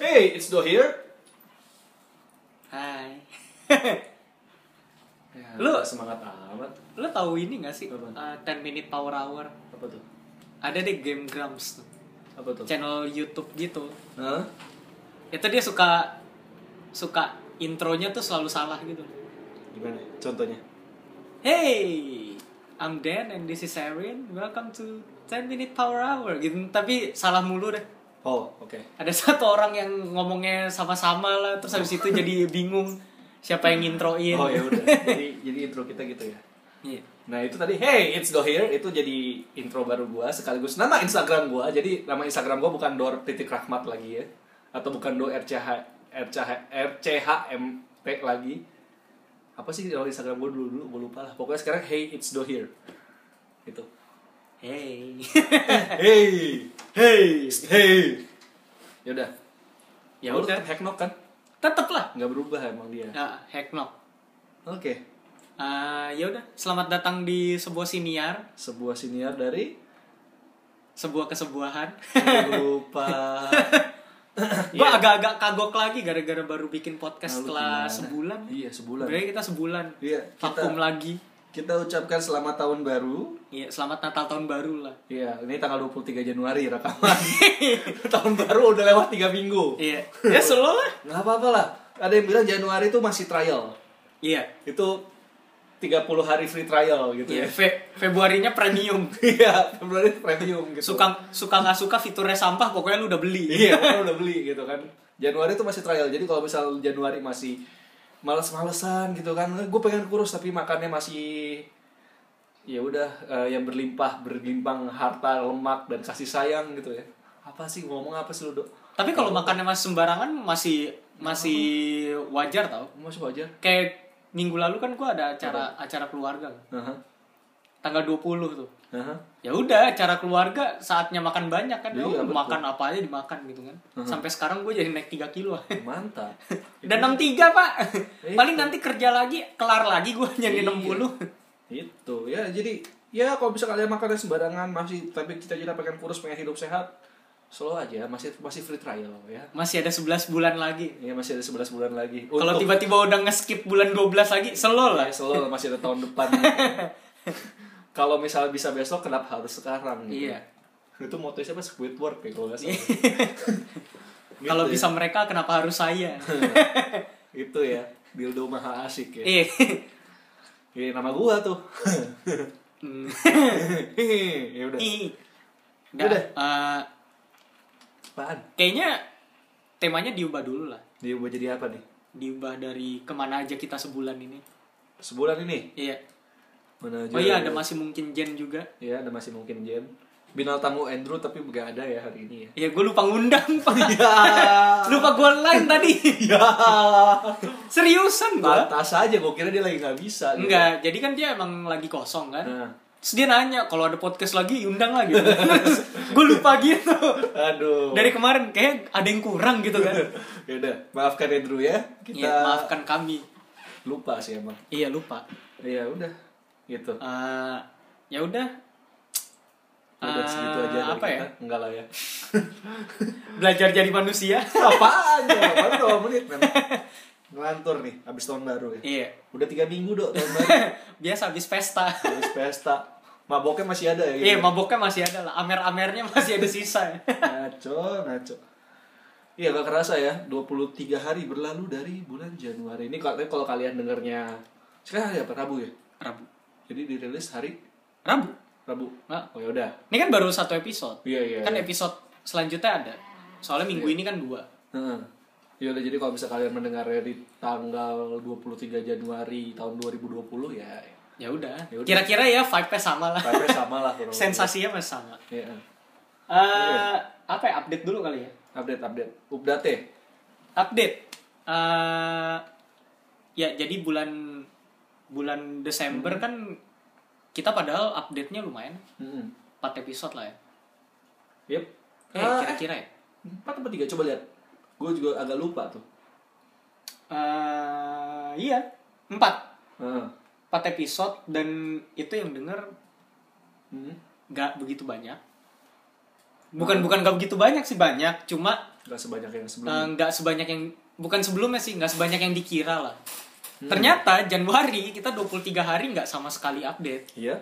Hey, it's Do here. Hai. Ya, Lu- semangat amat. Lo tahu ini gak sih? Apa? Eh, 10 minute power hour. Apa tuh? Ada deh Game Grumps tuh. Apa tuh? Channel YouTube gitu. Hah? Itu dia suka suka intronya tuh selalu salah gitu. Gimana? Contohnya? Hey, I'm Dan and this is Erin. Welcome to 10 minute power hour. Gitu, tapi salah mulu deh. Oh, oke. Ada satu orang yang ngomongnya sama-sama lah, terus habis itu jadi bingung siapa yang introin. Oh ya udah. jadi jadi intro kita gitu ya. Iya. Nah itu tadi Hey it's Do here itu jadi intro baru gua sekaligus nama Instagram gua jadi nama Instagram gua bukan Dor titik Rahmat lagi ya atau bukan Do RCH RCH RCHMT lagi apa sih kalau Instagram gua dulu dulu gua lupa lah pokoknya sekarang Hey it's Do here Gitu. itu Hey. Hey Hey Hey ya udah Ya Lu udah. tetap Hacknock kan Tetep lah. nggak berubah emang dia Nah, hack no. oke Ah, ya udah, selamat datang di sebuah siniar, sebuah siniar dari sebuah kesebuahan. lupa Gua agak-agak kagok lagi gara-gara baru bikin Iya. podcast Lalu setelah gimana? sebulan. iya sebulan Sebenarnya kita sebulan. Iya, kita- Vakum lagi. Kita ucapkan selamat tahun baru. Iya, selamat Natal tahun baru lah. Iya, ini tanggal 23 Januari rekaman. tahun baru udah lewat 3 minggu. Iya. Ya selalu lah. Nggak apa-apa lah. Ada yang bilang Januari itu masih trial. Iya. Itu 30 hari free trial gitu ya. Iya, Fe- Februarinya premium. Iya, Februari premium gitu. Suka suka nggak suka fiturnya sampah pokoknya lu udah beli. Iya, pokoknya udah beli gitu kan. Januari itu masih trial. Jadi kalau misal Januari masih males-malesan gitu kan, gue pengen kurus tapi makannya masih ya udah eh, yang berlimpah berlimpang harta lemak dan kasih sayang gitu ya apa sih ngomong apa sih lu dok Tapi kalau makannya masih sembarangan masih masih wajar tau. masuk aja Kayak minggu lalu kan gua ada acara acara keluarga. Aha, Tanggal 20 tuh. aha. ya udah acara keluarga saatnya makan banyak kan Iya, ya udah, betul. makan apa aja dimakan gitu kan sampai sekarang gue jadi naik 3 kilo mantap dan 63 pak paling nanti kerja lagi kelar lagi gue nyari Iya. 60 itu ya jadi ya kalau bisa kalian makannya sembarangan masih tapi cita-cita pengen kurus pengen hidup sehat slow aja masih masih free trial ya masih ada 11 bulan lagi ya masih ada 11 bulan lagi kalau Untuk- tiba-tiba udah nge-skip bulan 12 lagi selo lah Ya, selalu masih ada tahun depan. gitu. kalau misalnya bisa besok, kenapa harus sekarang? gitu. Iya. Itu moto siapa Squidward ya kalau nggak salah. Gitu kalau ya. bisa mereka kenapa harus saya Itu ya, dildo maha asik ya. eh Iya, nama gua tuh. Hmm. ya udah. Ih. Udah. Nggak, eh, Apaan? kayaknya temanya diubah dulu lah Dia mau jadi apa nih? diubah dari kemana aja kita sebulan ini Sebulan ini? iya Mana aja? Oh iya ada masih mungkin Jen juga. Iya, ada masih mungkin Jen. Binal tamu Andrew tapi nggak ada ya hari ini ya. Ya gue lupa ngundang pak. Ya. lupa gue online tadi. ya. Seriusan gue? Batas aja, gua kira dia lagi nggak bisa. gitu. Enggak. Jadi kan dia emang lagi kosong kan. Nah. Terus dia nanya kalau ada podcast lagi undang lagi. gue lupa gitu. Aduh. Dari kemarin kayak ada yang kurang gitu kan. ya udah maafkan Andrew ya kita Iya maafkan kami. lupa sih emang Iya lupa. ya udah gitu Eh, ya udah udah Eh, segitu aja dari apa ya? kita enggak lah ya belajar jadi manusia. apa aja ya? baru dua menit men ngelantur nih abis tahun baru ya iya. udah tiga minggu dok tahun baru Biasa habis pesta. abis pesta maboknya masih ada ya gitu? Iya, maboknya masih ada lah. Amer-amernya masih ada sisa. ngaco ngaco Iya gak kerasa ya, 23 hari berlalu dari bulan Januari Ini kalau kalau kalian dengernya Sekarang hari apa? Rabu ya? Rabu. Jadi dirilis hari Rabu. Rabu Nah, Oh yaudah ini kan baru satu episode. Iya iya Kan iya. episode selanjutnya ada. Soalnya minggu ini kan dua. Heeh. Ya udah jadi kalau bisa kalian mendengarnya di tanggal 23 Januari tahun 2020 ya Ya udah. Iya. Ya udah. Kira-kira ya vibe-nya sama lah. tapi sama lah kurang lebih. Sensasinya masih sama. Iya. Eh, apa ya? Update dulu kali ya. Update update. Update. ya? Update. Eh, ya jadi bulan bulan Desember kan kita padahal update-nya lumayan. Heeh. 4 episode lah ya. Yep. Eh, Ah, kira-kira ya. 4 atau 3 coba lihat. Gue juga agak lupa tuh. Eh, iya, 4. Heeh. 4 episode dan itu yang denger Heeh. nggak begitu banyak. bukan bukan gak begitu banyak sih banyak cuma Gak sebanyak yang eh, sebelumnya. nggak sebanyak yang bukan sebelumnya sih nggak sebanyak yang dikira lah Hmm. ternyata Januari kita 23 hari nggak sama sekali update Iya.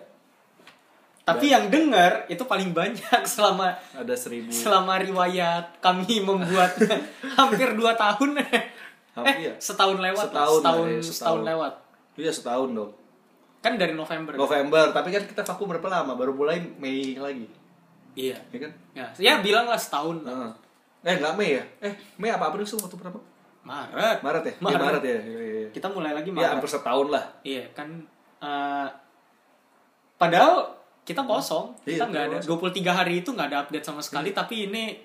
tapi yang denger itu paling banyak selama Ada seribu. selama riwayat kami membuat hampir dua tahun eh Hampir. iya. setahun lewat lah, Setahun, setahun, eh, setahun. setahun lewat Iya setahun dong. kan dari November November, tapi kan kita vakum berapa lama? Baru mulai Mei lagi, iya ya kan? ya, ya bilanglah setahun lah. Heeh. Eh nggak Mei ya? Eh Mei apa April sih waktu pertama? Maret Maret ya? Maret. Ya, Maret ya. Iya, iya, iya. kita mulai Ya lagi Maret hampir setahun lah. iya kan eh, padahal kita kosong Iya, kita nggak ada 23 hari itu nggak ada update sama sekali tapi ini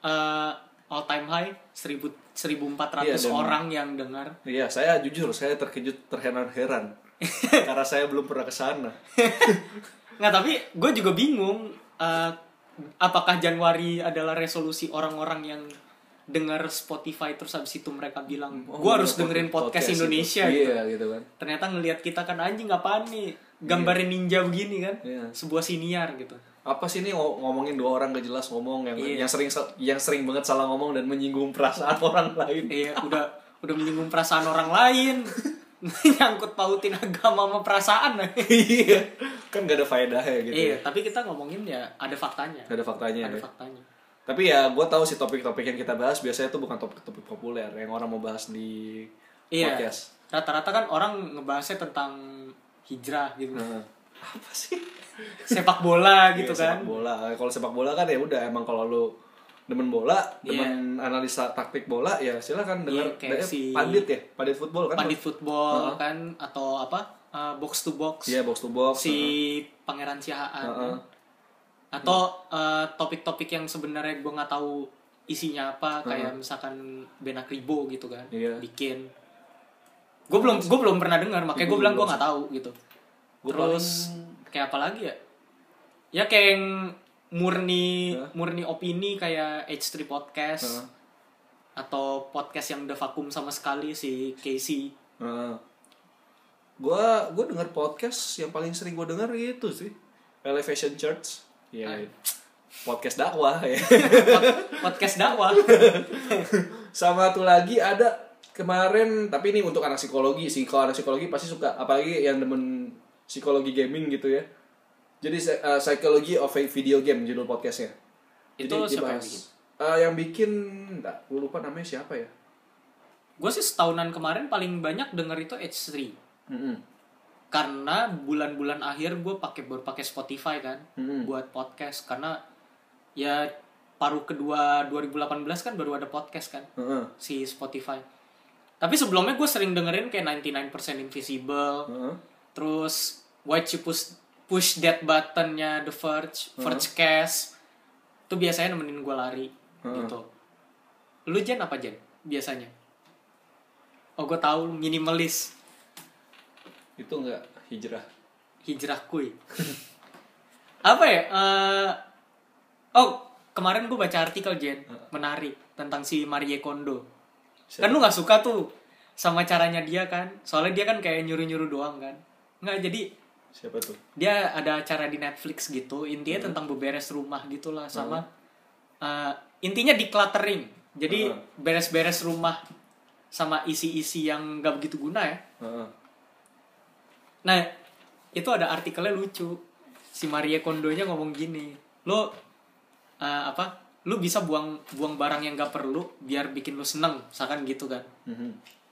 eh, all time high 1000 1400 Iya, dan- orang yang dengar Iya, saya jujur, saya terkejut terheran-heran karena saya belum pernah ke sana. Nggak, tapi gue juga bingung eh, apakah Januari adalah resolusi orang-orang yang dengar Spotify terus habis itu mereka bilang Hmm. gue harus dengerin podcast, Indonesia Oh, iya, itu. gitu. Iya, gitu kan. Ternyata ngelihat kita kan anjing apaan nih gambarin ninja begini kan Iya. sebuah siniar gitu. Apa sih ini ngo- ngomongin dua orang gak jelas ngomong yang Iya. yang sering sal- yang sering banget salah ngomong dan menyinggung perasaan orang lain. Iya udah udah menyinggung perasaan orang lain nyangkut pautin agama sama perasaan. Iya. kan gak ada faedahnya gitu. Iya ya. tapi kita ngomongin ya ada faktanya. Gak ada faktanya. Ada ya. faktanya. Tapi ya gue tahu sih topik-topik yang kita bahas biasanya itu bukan topik-topik populer yang orang mau bahas di Iya. podcast. Rata-rata kan orang ngebahasnya tentang hijrah gitu. Nah, apa sih? sepak bola gitu Iya, kan. Sepak bola. Kalau sepak bola kan ya udah emang kalau lu demen bola, demen analisa taktik bola ya silakan dengar Iya, dari kayak si- pandit ya, pandit football kan. Pandit football Heeh. kan atau apa? uh, box to box. Iya, box to box. si uh-huh. Pangeran Sihaan. Heeh. Atau uh, topik-topik yang sebenarnya gue nggak tahu isinya apa kayak misalkan Benak Ribo gitu kan. Uh-huh. Iya. Bikin gue belum gue belum pernah dengar makanya gue bilang gue nggak tahu gitu Gua terus kayak apa lagi ya ya kayak yang murni Hah? murni opini kayak H3 podcast Heeh. atau podcast yang udah vakum sama sekali si Casey Heeh. Gua gua denger podcast yang paling sering gua denger itu sih Elevation Church. Ah. Iya. Podcast dakwah ya. Pod- podcast dakwah Sama tuh lagi ada kemarin tapi ini untuk anak psikologi sih. Kalau anak psikologi pasti suka apalagi yang demen psikologi gaming gitu ya. Jadi eh, Psychology of a Video Game judul podcastnya. Itu Jadi siapa yang dibahas. bikin? Eh, yang bikin enggak, gue lupa namanya siapa ya. gue sih setahunan kemarin paling banyak denger itu H3 Mm-mm. karena bulan-bulan akhir gue pakai baru pakai Spotify kan Mm-mm. buat podcast karena ya paruh kedua 2018 kan baru ada podcast kan Heeh. si Spotify tapi sebelumnya gue sering dengerin kayak 99% Invisible Heeh. Terus Why'd you push push that buttonnya The Verge, Verge Cast. Itu biasanya nemenin gue lari gitu. Lu Jen apa Jen biasanya? Oh gue tahu lu minimalis Itu enggak hijrah. hijrah kuy. apa ya? Eh, oh kemarin gue baca artikel Jen menarik tentang si Marie Kondo. Kan lu nggak suka tuh sama caranya dia kan? Soalnya dia kan kayak nyuruh-nyuruh doang kan? Nggak jadi Siapa tuh? dia ada acara di Netflix gitu intinya tentang beberes rumah gitulah sama eh, intinya decluttering jadi Hmm. beres-beres rumah sama isi-isi yang gak begitu guna ya Heeh. nah itu ada artikelnya lucu si Maria Kondonya ngomong gini lo eh, apa lu bisa buang buang barang yang gak perlu biar bikin lu seneng misalkan gitu kan Mhm.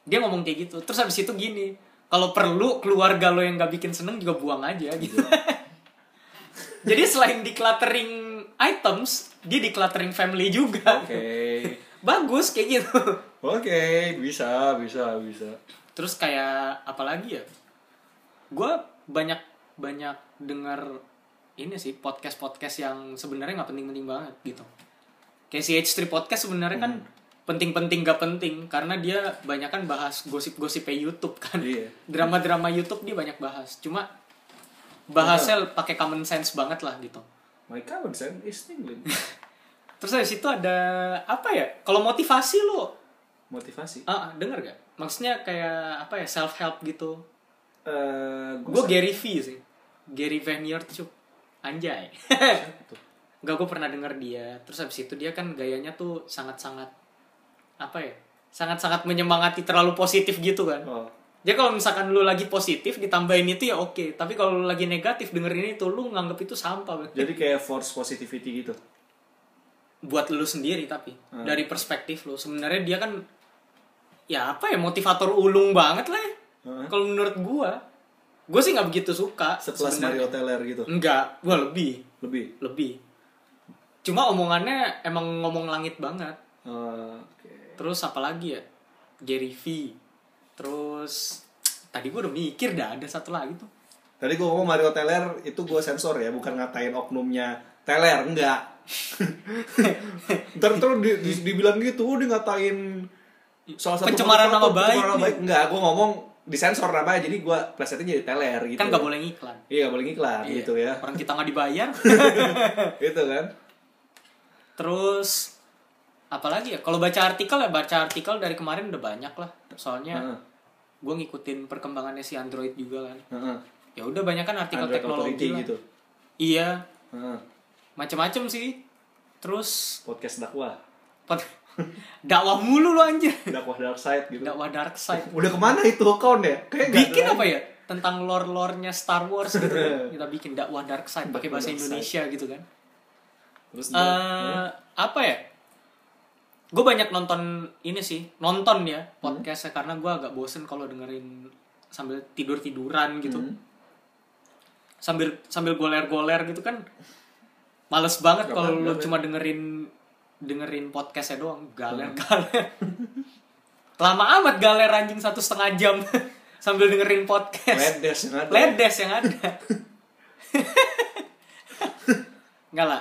dia ngomong kayak gitu terus habis itu gini kalau perlu keluarga lo yang gak bikin seneng juga buang aja gitu jadi selain decluttering items dia decluttering family juga Oke. bagus kayak gitu Oke, bisa, bisa, bisa. terus kayak apalagi ya gue banyak banyak dengar ini sih podcast podcast yang sebenarnya nggak penting-penting banget gitu kayak si H3 podcast sebenarnya kan penting-penting gak penting karena dia banyak kan bahas gosip-gosip YouTube kan Iya. drama-drama YouTube dia banyak bahas cuma bahasnya pakai common sense banget lah gitu My common sense is tingling. terus dari situ ada apa ya kalau motivasi lo Motivasi. ah denger gak maksudnya kayak apa ya self help gitu Eh, Gue Gary V sih. Gary Vaynerchuk. Anjay. Enggak, gue pernah denger dia. Terus habis itu dia kan gayanya tuh sangat-sangat apa ya? Sangat-sangat menyemangati terlalu positif gitu kan. Oh. Jadi kalau misalkan lu lagi positif ditambahin itu ya oke, tapi kalau lu lagi negatif dengerin itu lu nganggep itu sampah. Bang. Jadi kayak force positivity gitu. Buat lu sendiri tapi Hmm. dari perspektif lu sebenarnya dia kan ya apa ya motivator ulung banget lah. ya. Heeh. Kalau menurut gua, gua sih nggak begitu suka. Sekelas Mario sebenarnya. Teller gitu. Enggak, gua lebih, Lebih. lebih. Cuma omongannya emang ngomong langit banget. Eh, oke. Terus apa lagi ya? Gary V. Terus tadi gua udah mikir dah ada satu lagi tuh. Tadi gue ngomong Mario Teller itu gue sensor ya, bukan ngatain oknumnya Teller, enggak. Ntar terus di, di- dibilang gitu, oh, dia ngatain salah satu Pencemaran motivator, nama baik pencemaran nama nih. baik. Enggak, gue ngomong disensor namanya, jadi gue plesetnya jadi Teller gitu. Kan nggak boleh ngiklan. Iya, nggak boleh ngiklan Iya, gitu ya. Orang kita nggak dibayar. gitu kan. Terus apalagi ya? Kalau baca artikel ya baca artikel dari kemarin udah banyak lah. Soalnya Heeh. gue ngikutin perkembangannya si Android juga kan. Heeh. Ya udah banyak kan artikel Android teknologi Authority lah. gitu. Iya, Heeh. macam-macam sih. Terus Podcast dakwah, pot- dakwah mulu lu anjir. dakwah dark side gitu. Dakwah dark side. Udah kemana itu account ya? Kayak nggak ada Bikin lagi. apa ya? Tentang lore-lore-nya Star Wars gitu. kan. Kita bikin dakwah dark side pakai bahasa Dakwah dark Iya. Indonesia gitu kan. Terus eh apa ya? Gue banyak nonton ini sih, nonton ya Hmm. podcastnya karena gue agak bosen kalau dengerin sambil tidur tiduran gitu, Hmm. sambil sambil goler-goler gitu kan, males banget Hmm. Galer, kalau lu galer. cuma dengerin dengerin podcastnya doang, galer-galer. Lama amat galer anjing satu setengah jam sambil dengerin podcast. ledes yang ada. Ledes yang ada. Enggak lah.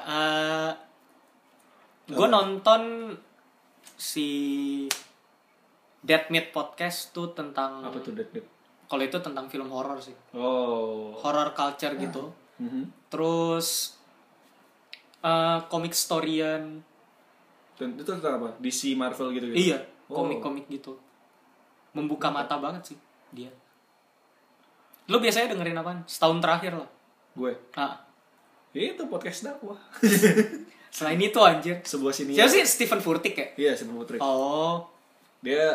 gue nonton si Dead Meat Podcast tuh tentang Apa tuh dead Meat? kalau itu tentang film horor sih. Oh. Horror culture gitu. Mhm. Terus eh komik historian. Dan itu tentang apa? DC Marvel gitu gitu. Iya, Oh. komik-komik gitu. Membuka mata banget sih dia. Lo biasanya dengerin apaan? Setahun terakhir lah. Gue. Ah, Itu podcast dakwah. Selain itu anjir. Sebuah sini. Siapa sih Stephen Furtick ya? Iya, sebelum Putri. Oh. Dia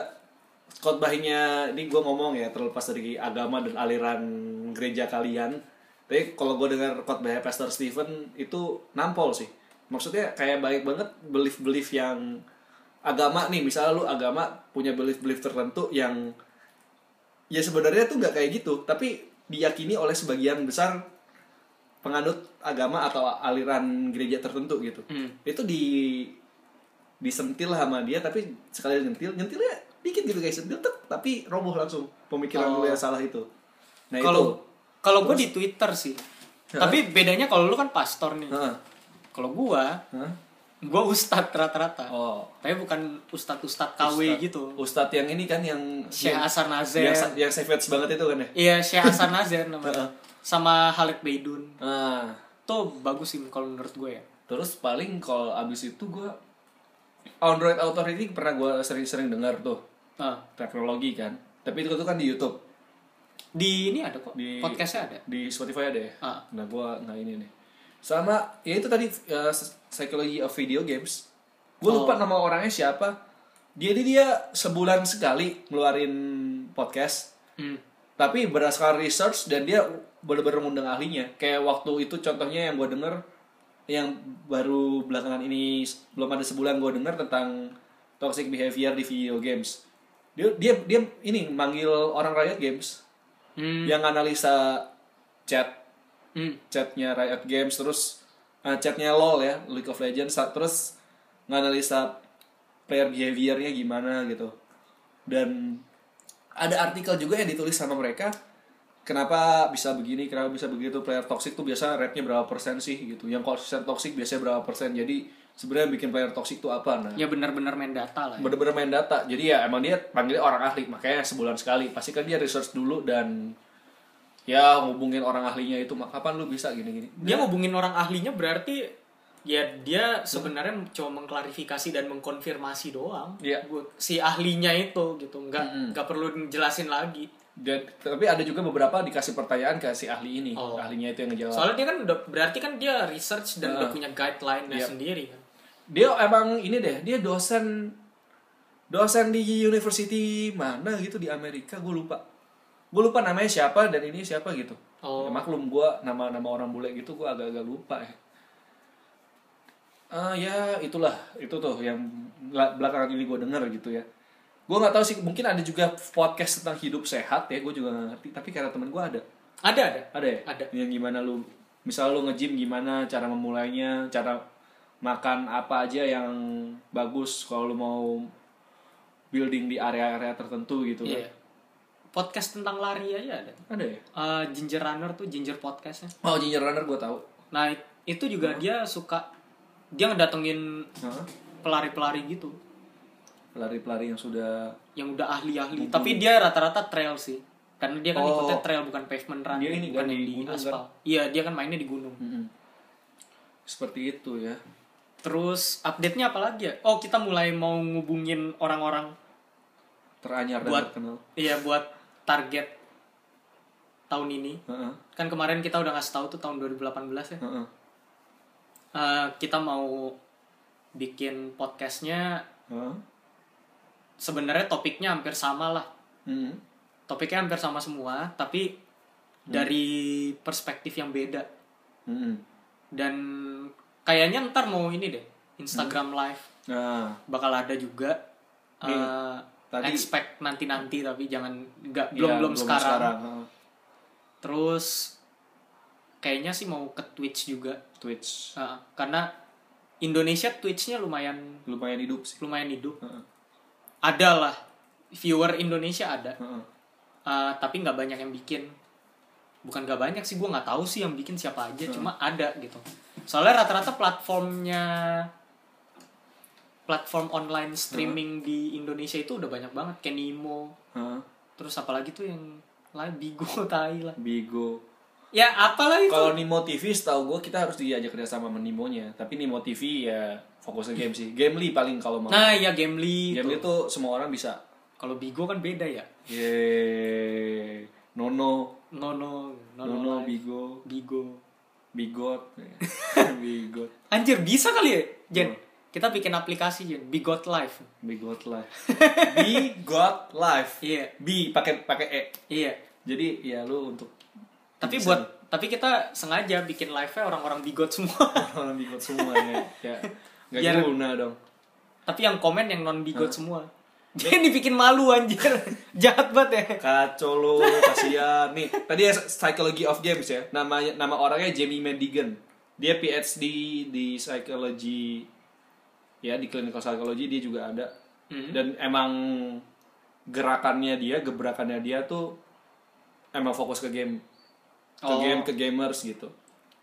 khotbahnya ini gue ngomong ya terlepas dari agama dan aliran gereja kalian. Tapi kalau gue dengar khotbahnya Pastor Stephen itu nampol sih. Maksudnya kayak banyak banget belief-belief yang agama nih, misalnya lu agama punya belief-belief tertentu yang ya sebenarnya tuh nggak kayak gitu tapi diyakini oleh sebagian besar penganut agama atau aliran gereja tertentu gitu Hmm. itu di disentil sama dia tapi sekali nyentil nyentilnya dikit gitu guys sentil tek, tapi roboh langsung pemikiran Oh. lu yang salah itu nah Kalau kalau gue di Twitter sih. Hah? Tapi bedanya kalau lu kan pastor nih. itu Heeh. Kalau gua, Heeh. gua ustad rata-rata. oh Tapi bukan ustad-ustad KW Ustadz- gitu. Ustadz yang ini kan yang Syekh yang, Hasan Nazir. yang, sa- yang savage banget itu kan ya Iya, Syekh Hasan Nazir namanya. Heeh. Sama Halid Baidun. ah Tuh bagus sih kalau menurut gue ya. Terus paling kalau abis itu gue Android Authority pernah gue sering-sering dengar tuh Ah. teknologi kan. Tapi itu tuh kan di YouTube, Di ini ada kok. Di- Podcastnya ada. di Spotify ada ya. Ah. Nah gue nggak ini nih. Sama ya itu tadi ya, s- Psychology of Video Games. Gue lupa nama orangnya siapa. Jadi dia sebulan sekali ngeluarin podcast. Hmm. Tapi berdasarkan research dan dia bener-bener ngundang ahlinya. Kayak waktu itu contohnya yang gue denger yang baru belakangan ini s- belum ada sebulan gue denger tentang toxic behavior di video games. Dia dia dia ini manggil orang Riot Games Hmm. yang analisa chat Hmm. chatnya Riot Games terus eh, chatnya LOL ya League of Legends sa- terus nganalisa player behaviornya gimana gitu dan ada artikel juga yang ditulis sama mereka kenapa bisa begini kenapa bisa begitu player toxic tuh biasa rate-nya berapa persen sih gitu yang konsisten toxic biasanya berapa persen jadi sebenarnya yang bikin player toxic tuh apa nah Ya benar-benar main data lah. Ya. bener-bener main data jadi ya emang dia panggil orang ahli makanya sebulan sekali pasti kan dia research dulu dan ya hubungin orang ahlinya itu "Mak, kapan lu bisa gini-gini dia ngubungin orang ahlinya berarti ya dia sebenarnya cuma mengklarifikasi dan mengkonfirmasi doang Iya. Hmm, Gua- si ahlinya itu gitu nggak Mm-mm. nggak perlu jelasin lagi Dan tapi ada juga beberapa dikasih pertanyaan ke si ahli ini, Oh. ahlinya itu yang ngejawab. Soalnya dia kan udah berarti kan dia research dan Nah. udah punya guideline nya Yap. sendiri kan. dia emang ini deh dia dosen dosen di university mana gitu di Amerika gue lupa gue lupa namanya siapa dan ini siapa gitu Ya, Oh. maklum gue nama nama orang bule gitu gue agak-agak lupa ya Ah, ya itulah itu tuh yang bela- belakangan ini gue denger gitu ya gue nggak tahu sih mungkin ada juga podcast tentang hidup sehat ya gue juga nggak ngerti tapi karena temen gue ada Ada ada. ada ya? Ada. Yang gimana lu misal lu nge-gym gimana cara memulainya, cara makan apa aja yang bagus kalau lu mau building di area-area tertentu gitu Iya. kan. Podcast tentang lari aja ada. Ada ya? Eh, ginger runner tuh ginger podcastnya. Oh, Ginger Runner gua tahu. Nah it- itu Hmm. juga dia suka dia ngedatengin Hah? pelari-pelari gitu Pelari-pelari yang sudah yang udah ahli-ahli. Tapi dia rata-rata trail sih. Karena dia kan Oh. ikutnya trail bukan pavement run. Dia ini bukan kan yang di di gunung kan? aspal. Iya, dia kan mainnya di gunung. Mm-mm. seperti itu ya. Terus update-nya apa lagi ya? Oh, kita mulai mau ngubungin orang-orang Teranyar dan Buat- terkenal. Iya buat target tahun ini. Heeh. Kan kemarin kita udah ngasih tahu tuh tahun 2018 ya. heeh. Eh, kita mau bikin podcastnya Heeh. sebenarnya topiknya hampir sama lah. Mm-mm. Topiknya hampir sama semua, tapi dari perspektif yang beda. Mm-mm. Dan kayaknya ntar mau ini deh, Instagram Live Nah, bakal ada juga. Nih, Eh, tadi- ya, expect nanti-nanti tapi jangan iya, nggak belum belum sekarang. Heeh. Terus kayaknya sih mau ke Twitch juga. Twitch Nah, karena Indonesia Twitch-nya lumayan lumayan hidup sih. lumayan hidup. Heeh. Ada lah viewer Indonesia ada, Heeh. Eh, tapi nggak banyak yang bikin. Bukan nggak banyak sih, gue nggak tahu sih yang bikin siapa aja, Hmm. cuma ada gitu. Soalnya rata-rata platformnya platform online streaming Hmm. di Indonesia itu udah banyak banget, Kenimo, Heeh. terus apalagi tuh yang lain Bigo tai lah. Bigo. Ya apalah itu. Kalau Nimo TV setahu gue kita harus diajak kerjasama sama Nimonya. Tapi Nimo TV ya fokusnya game sih. Gamely paling kalau mau. Nah, ya Gamely. Gamely tuh. tuh semua orang bisa. Kalau Bigo kan beda ya. Yeay. Nono, Nono, Nono, Nono, Live, Bigo, Bigo. Bigot, Bigot, Anjir bisa kali ya, Jen. Hmm. Kita bikin aplikasi Jen, Bigot Live. Bigot Live, Bigot Live, Iya, B pakai pakai e. iya. Jadi ya lu untuk Tapi bisa buat tapi kita sengaja bikin live-nya orang-orang bigot semua. nih, orang Bigot semua ya. ya. Gak Biar- guna dong. tapi yang komen yang non bigot semua. Dia dibikin malu anjir. Jahat banget ya. Kacau lo, kasihan. Nih, tadi ya Psychology of Games ya. Namanya nama orangnya Jamie Madigan. Dia PhD di psychology ya di clinical psychology dia juga ada. Dan emang gerakannya dia, gebrakannya dia tuh emang fokus ke game. Ke Oh. game, ke gamers gitu.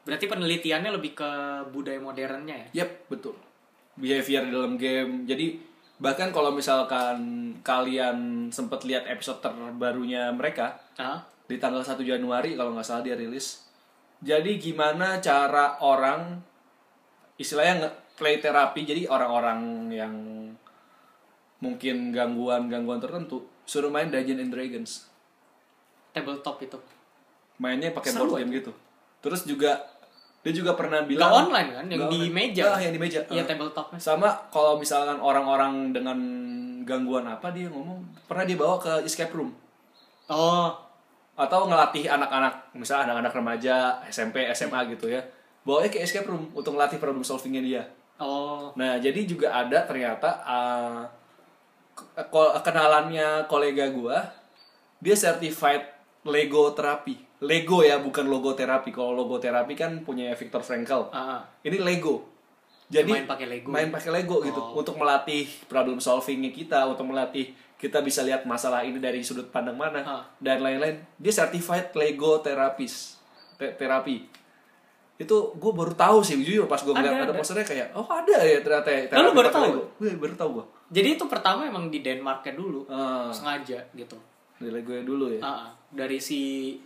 Berarti penelitiannya lebih ke budaya modernnya ya. Yep, betul. Behavior di dalam game. Jadi bahkan kalau misalkan kalian sempat lihat episode terbarunya mereka, Hah? di tanggal 1 Januari kalau nggak salah dia rilis. Jadi gimana cara orang istilahnya nge- play terapi jadi orang-orang yang mungkin gangguan-gangguan tertentu suruh main Dungeons and Dragons. Tabletop itu. Mainnya pakai Seru board game gitu. Terus juga dia juga pernah Gak bilang online kan, yang Nggak di online. meja. Ah, yang di meja. Iya, Ah. tabletopnya. Sama kalau misalkan orang-orang dengan gangguan apa dia ngomong pernah dibawa ke escape room. Oh, atau ngelatih anak-anak misalnya anak-anak remaja SMP SMA gitu ya bawanya ke escape room untuk ngelatih problem solvingnya dia oh. nah jadi juga ada ternyata ah, ke- ko- kenalannya kolega gua dia certified Lego terapi Lego ya bukan logo terapi kalau logo terapi kan punya Viktor Frankl Ah, ah. ini Lego Dia jadi main pakai Lego. Oh, main pakai Lego gitu untuk melatih problem solvingnya kita untuk melatih kita bisa lihat masalah ini dari sudut pandang mana Ah. dan lain-lain dia certified Lego terapis Te- terapi itu gue baru tahu sih jujur pas gue ngeliat Ada, ada, ada. posternya kayak oh ada ya ternyata ya, Lah, lu terapi baru pakai tahu? Lego. Gue baru tahu gue Jadi itu pertama emang di Denmarknya dulu. Ah. Sengaja gitu. dari Lego dulu ya Ah, ah. dari si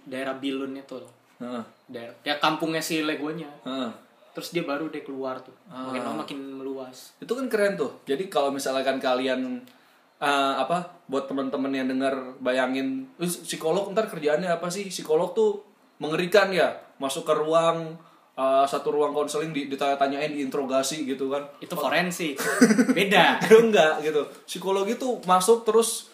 daerah Bilun itu loh. Heeh. Daer- ya kampungnya si Legonya. Heeh. Terus dia baru Ah. deh keluar tuh. Makin lama makin meluas. itu kan keren tuh jadi kalau misalkan kalian eh, apa buat teman-teman yang dengar bayangin "Eh, psikolog ntar kerjaannya apa sih psikolog tuh mengerikan ya masuk ke ruang eh, satu ruang konseling di- ditanya-tanyain diinterogasi gitu kan Itu forensik. Beda. Aduh, enggak gitu psikologi tuh masuk terus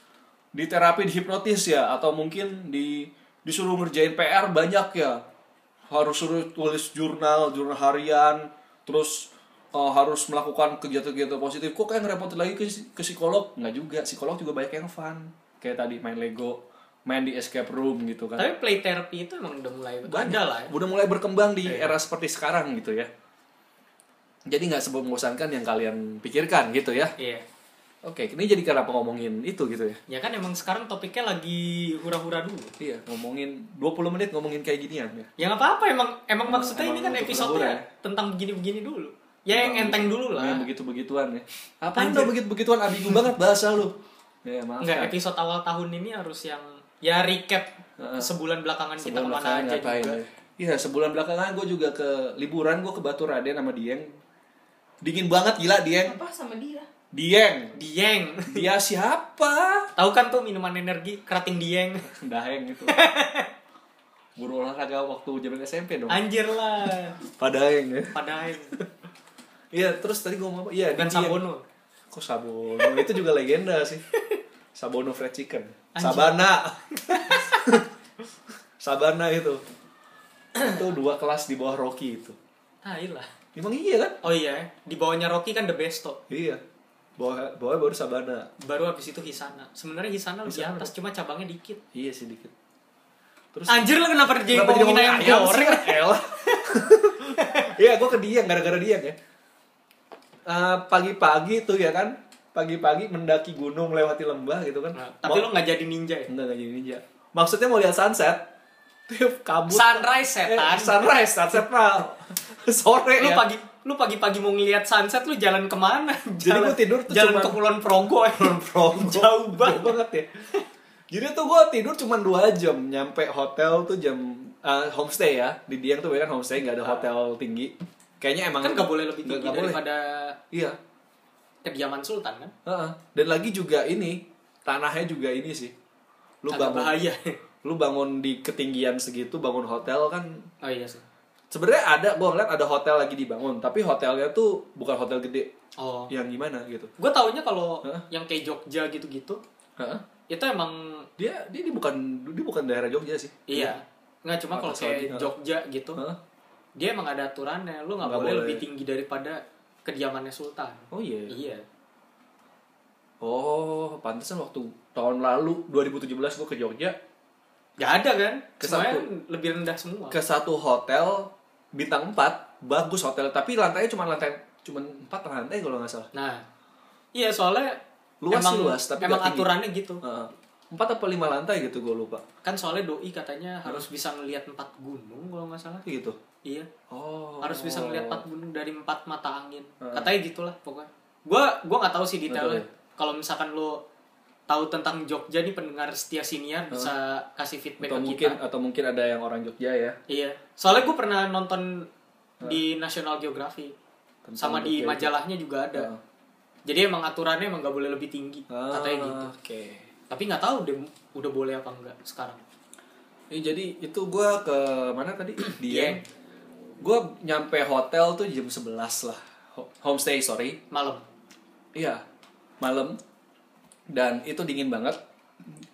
di terapi dihipnotis ya atau mungkin di disuruh ngerjain PR banyak ya harus suruh tulis jurnal jurnal harian terus eh, harus melakukan kegiatan-kegiatan positif kok kayak ngerepotin lagi ke, ke psikolog nggak juga psikolog juga banyak yang fun kayak tadi main Lego main di escape room gitu kan Tapi play therapy itu emang udah mulai ada lah. ya. Iya. udah mulai berkembang di era seperti sekarang gitu ya jadi nggak sebelum membosankan yang kalian pikirkan gitu ya Iya. Oke, ini jadi kenapa ngomongin itu gitu ya? Ya kan emang sekarang topiknya lagi hura-hura dulu. Iya, ngomongin 20 menit ngomongin kayak ginian ya. Ya nggak apa-apa emang emang maksudnya emang ini kan untuk episode hura-hura Iya, tentang begini-begini dulu. Ya yang enteng dulu lah. Yang begitu-begituan ya. Apaan lo begitu-begituan abigu banget bahasa lu? Ya, maaf. Kan. Enggak, episode awal tahun ini harus yang ya recap sebulan belakangan kita Sebulan kemana belakangan aja ngapain juga. ya. Iya, sebulan belakangan gue juga ke liburan gue ke Batu Raden sama Dieng. Dingin banget gila Dieng. Apa sama dia? Dieng. Dieng. Dia siapa? Tahu kan tuh minuman energi kerating dieng. Daheng itu. Guru olahraga waktu zaman SMP dong. Anjir lah. Padaeng ya. Padahal Iya, terus tadi gue ngomong apa? Iya, di bukan Dieng. Sabono. Kok Sabono? itu juga legenda sih. Sabono Fried Chicken. Sabana. Sabana itu. itu dua kelas di bawah Rocky itu. Ah, iyalah. Emang iya kan? Oh iya, di bawahnya Rocky kan The Besto. Iya. Bawah, bawah baru Sabana. Baru habis itu Hisana. Sebenarnya Hisana lebih Hisana. atas, cuma cabangnya dikit. Iya sedikit. Terus Anjir lah kenapa jadi Kenapa jadi ngomongin ayam ngomongin ayam goreng? sih? Elah. Iya, gue ke Dieng gara-gara Dieng ya. Eh, pagi-pagi tuh ya kan, pagi-pagi mendaki gunung lewati lembah gitu kan. Nah, tapi Mau- lo nggak jadi ninja ya? Enggak, enggak jadi ninja. Maksudnya mau lihat sunset, tuh kabut. Sunrise setan. Eh, sunrise, sunset lah. Sore lu ya. pagi lu pagi-pagi mau ngelihat sunset lu jalan kemana? Jalan, Jadi gua tidur tuh jalan cuman- ke Kulon Progo. ya. Progo. Jauh banget. ya. Jadi tuh gue tidur cuma 2 jam, nyampe hotel tuh jam eh, homestay ya. Di Dieng tuh kan homestay nggak ada hotel tinggi. Kayaknya emang Ah. Kan nggak boleh lebih Nggak- tinggi nggak boleh. daripada Iya. kediaman sultan kan? Heeh. Dan lagi juga ini tanahnya juga ini sih. Lu Agak bangun, bahaya. lu bangun di ketinggian segitu bangun hotel kan Oh iya sih. sebenarnya ada gue ngeliat ada hotel lagi dibangun tapi hotelnya tuh bukan hotel gede Oh. yang gimana gitu Gue taunya kalau Hah? yang kayak Jogja gitu-gitu Heeh. itu emang dia dia di bukan dia bukan daerah Jogja sih iya. Nggak cuma kalau Atas lagi, kayak hah? Jogja gitu. Heeh. Dia emang ada aturannya, lu nggak Nggak boleh, boleh. lebih tinggi daripada kediamannya sultan. oh iya Iya. oh pantesan waktu tahun lalu 2017 gue ke Jogja Gak ada kan? Ke Semuanya satu. lebih rendah semua. ke satu hotel bintang 4 bagus hotel tapi lantainya cuma lantai cuma empat lantai kalau nggak salah Nah, iya soalnya Luas emang, sih luas, tapi emang nggak tinggi. aturannya gitu. Heeh. empat apa lima lantai gitu gue lupa Kan soalnya doi katanya harus bisa ngelihat empat gunung kalau nggak salah. gitu Iya, oh harus bisa ngelihat empat gunung dari empat mata angin. Katanya gitulah pokoknya. Gua gua nggak tahu sih Nggak tahu detailnya. ya? Kalau misalkan lo tahu tentang Jogja nih pendengar setia siniar bisa kasih feedback atau ke mungkin kita. atau mungkin ada yang orang Jogja ya Iya. Soalnya gue pernah nonton di National Geographic Tentang sama Jogja di itu. majalahnya juga ada. Heeh. Jadi emang aturannya emang nggak boleh lebih tinggi katanya Ah, gitu. oke tapi nggak tahu deh udah boleh apa enggak sekarang Eh, jadi itu gue ke mana tadi? Dieng. Dieng. Gue nyampe hotel tuh jam 11 lah. Ho- Homestay, sorry. malam Iya, malam. Dan itu dingin banget.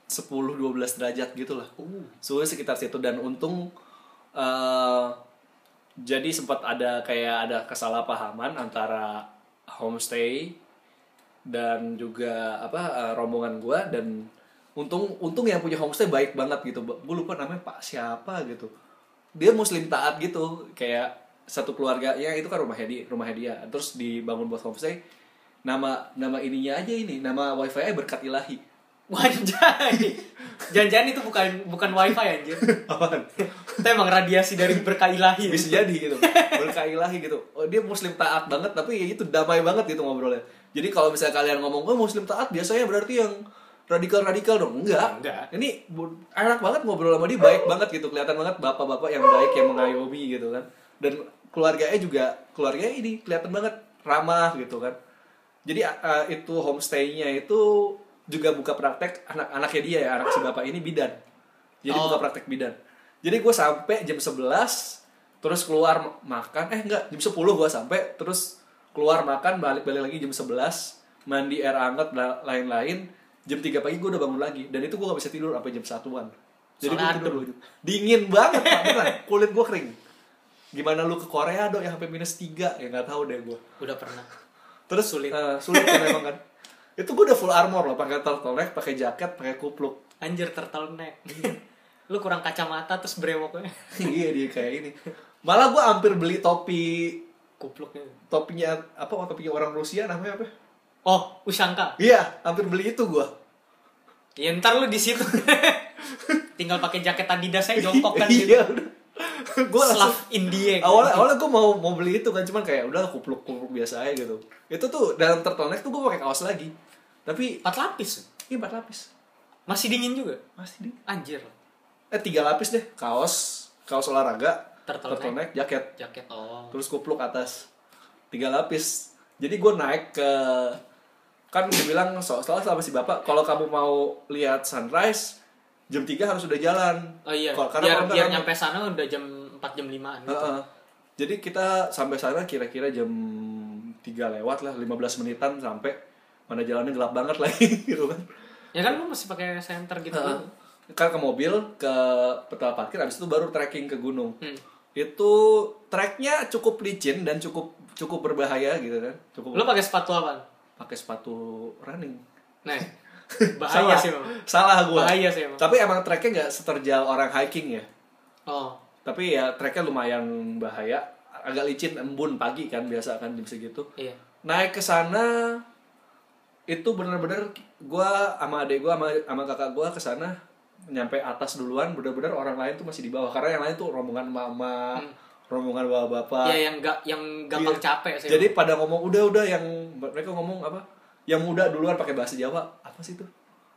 10-12 derajat gitu lah. uh Suhu sekitar situ. Dan untung... eh, jadi sempat ada kayak ada kesalahpahaman antara homestay dan juga apa eh, rombongan gua dan untung untung yang punya homestay baik banget gitu gue lupa namanya pak siapa gitu dia muslim taat gitu kayak satu keluarganya itu kan rumah hedi rumah dia terus dibangun buat homestay nama nama ininya aja ini nama wifi nya berkat ilahi Wanjai Jangan-jangan itu bukan bukan wifi anjir apaan Itu emang radiasi dari berkah ilahi ya. bisa jadi gitu berkah ilahi gitu oh, dia muslim taat banget tapi ya itu damai banget gitu ngobrolnya jadi kalau misalnya kalian ngomong oh muslim taat biasanya berarti yang radikal radikal dong enggak Enggak. ini bu- enak banget ngobrol sama dia baik banget gitu kelihatan banget bapak-bapak yang baik yang mengayomi gitu kan dan keluarganya juga keluarganya ini kelihatan banget ramah gitu kan jadi eh, itu homestay-nya itu juga buka praktek anak-anaknya dia ya anak si bapak ini bidan jadi Oh. buka praktek bidan jadi gue sampai jam 11 terus keluar ma- makan eh enggak jam 10 gue sampai terus keluar makan balik-balik lagi jam 11 mandi air hangat la- lain-lain jam 3 pagi gue udah bangun lagi dan itu gue gak bisa tidur sampai jam satuan jadi gue Soalnya tidur adem. dulu dingin banget Pak, beneran. kulit gue kering gimana lu ke Korea dong yang sampai minus 3 ya nggak tahu deh gue udah pernah terus sulit sulit kan memang kan itu gue udah full armor loh pakai turtleneck pakai jaket pakai kupluk anjir turtleneck lu kurang kacamata terus brewoknya iya dia kayak ini malah gue hampir beli topi kupluknya topinya apa oh, topinya orang Rusia namanya apa oh usangka iya hampir beli itu gue ya ntar lu di situ tinggal pakai jaket Adidas saya jongkok kan iya udah gue langsung Slav India awalnya awalnya gue mau mau beli itu kan cuman kayak udah kupluk kupluk biasa aja gitu itu tuh dalam turtleneck tuh gue pakai kaos lagi tapi empat lapis iya empat lapis masih dingin juga masih dingin anjir eh tiga lapis deh kaos kaos olahraga Turtleneck. turtleneck jaket jaket oh terus kupluk atas tiga lapis jadi gue naik ke kan dibilang so salah sama si bapak kalau kamu mau lihat sunrise jam 3 harus udah jalan oh iya Kalau- biar kalau nggak biar rame. nyampe sana udah jam 4 jam 5an gitu. Heeh. jadi kita sampai sana kira-kira jam 3 lewat lah 15 menitan sampai mana jalannya gelap banget lagi gitu kan ya kan lu masih pakai senter gitu Heeh. kan kan ke mobil ke petal parkir abis itu baru trekking ke gunung Hmm. itu treknya cukup licin dan cukup cukup berbahaya gitu kan cukup lu pakai sepatu apa pakai sepatu running. nah bahaya Salah. sih memang Salah gue. Bahaya sih memang. Tapi emang treknya nggak seterjal orang hiking ya. oh Tapi ya treknya lumayan bahaya. Agak licin embun pagi kan biasa kan jam segitu. iya Naik ke sana itu bener-bener gue sama adek gue sama, sama kakak gue ke sana nyampe atas duluan bener-bener orang lain tuh masih di bawah karena yang lain tuh rombongan mama Hmm. rombongan bapak-bapak ya yang gak yang gampang Iya. capek sih Jadi pada ngomong udah-udah yang mereka ngomong apa? Yang muda duluan pakai bahasa Jawa apa sih itu?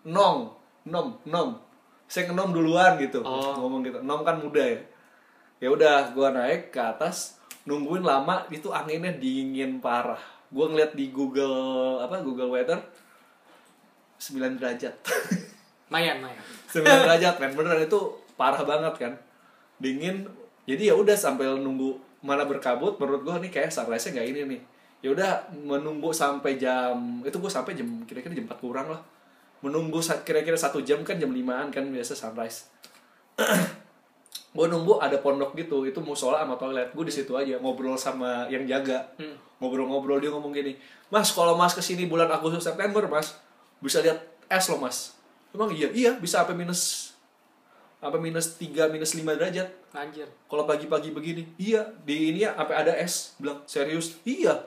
Nong, nom, nom. Saya ngenom duluan gitu. Oh. Ngomong gitu. Nom kan muda ya. Ya udah, gua naik ke atas nungguin lama itu anginnya dingin parah. Gua ngeliat di Google apa Google Weather 9 derajat. mayan mayan 9 derajat men beneran itu parah banget kan. Dingin. Jadi ya udah sambil nunggu mana berkabut menurut gua nih kayak sunrise-nya nggak ini nih. Ya udah menunggu sampai jam itu gua sampai jam kira-kira jam 4 kurang lah. Menunggu sa- kira-kira satu jam kan jam 5-an kan biasa sunrise. gue nunggu ada pondok gitu itu musola sama toilet gue di situ aja ngobrol sama yang jaga Hmm. ngobrol-ngobrol dia ngomong gini mas kalau mas kesini bulan Agustus September mas bisa lihat es loh mas emang iya iya bisa apa minus apa minus 3 minus 5 derajat anjir kalau pagi-pagi begini iya di ini ya apa ada es bilang serius iya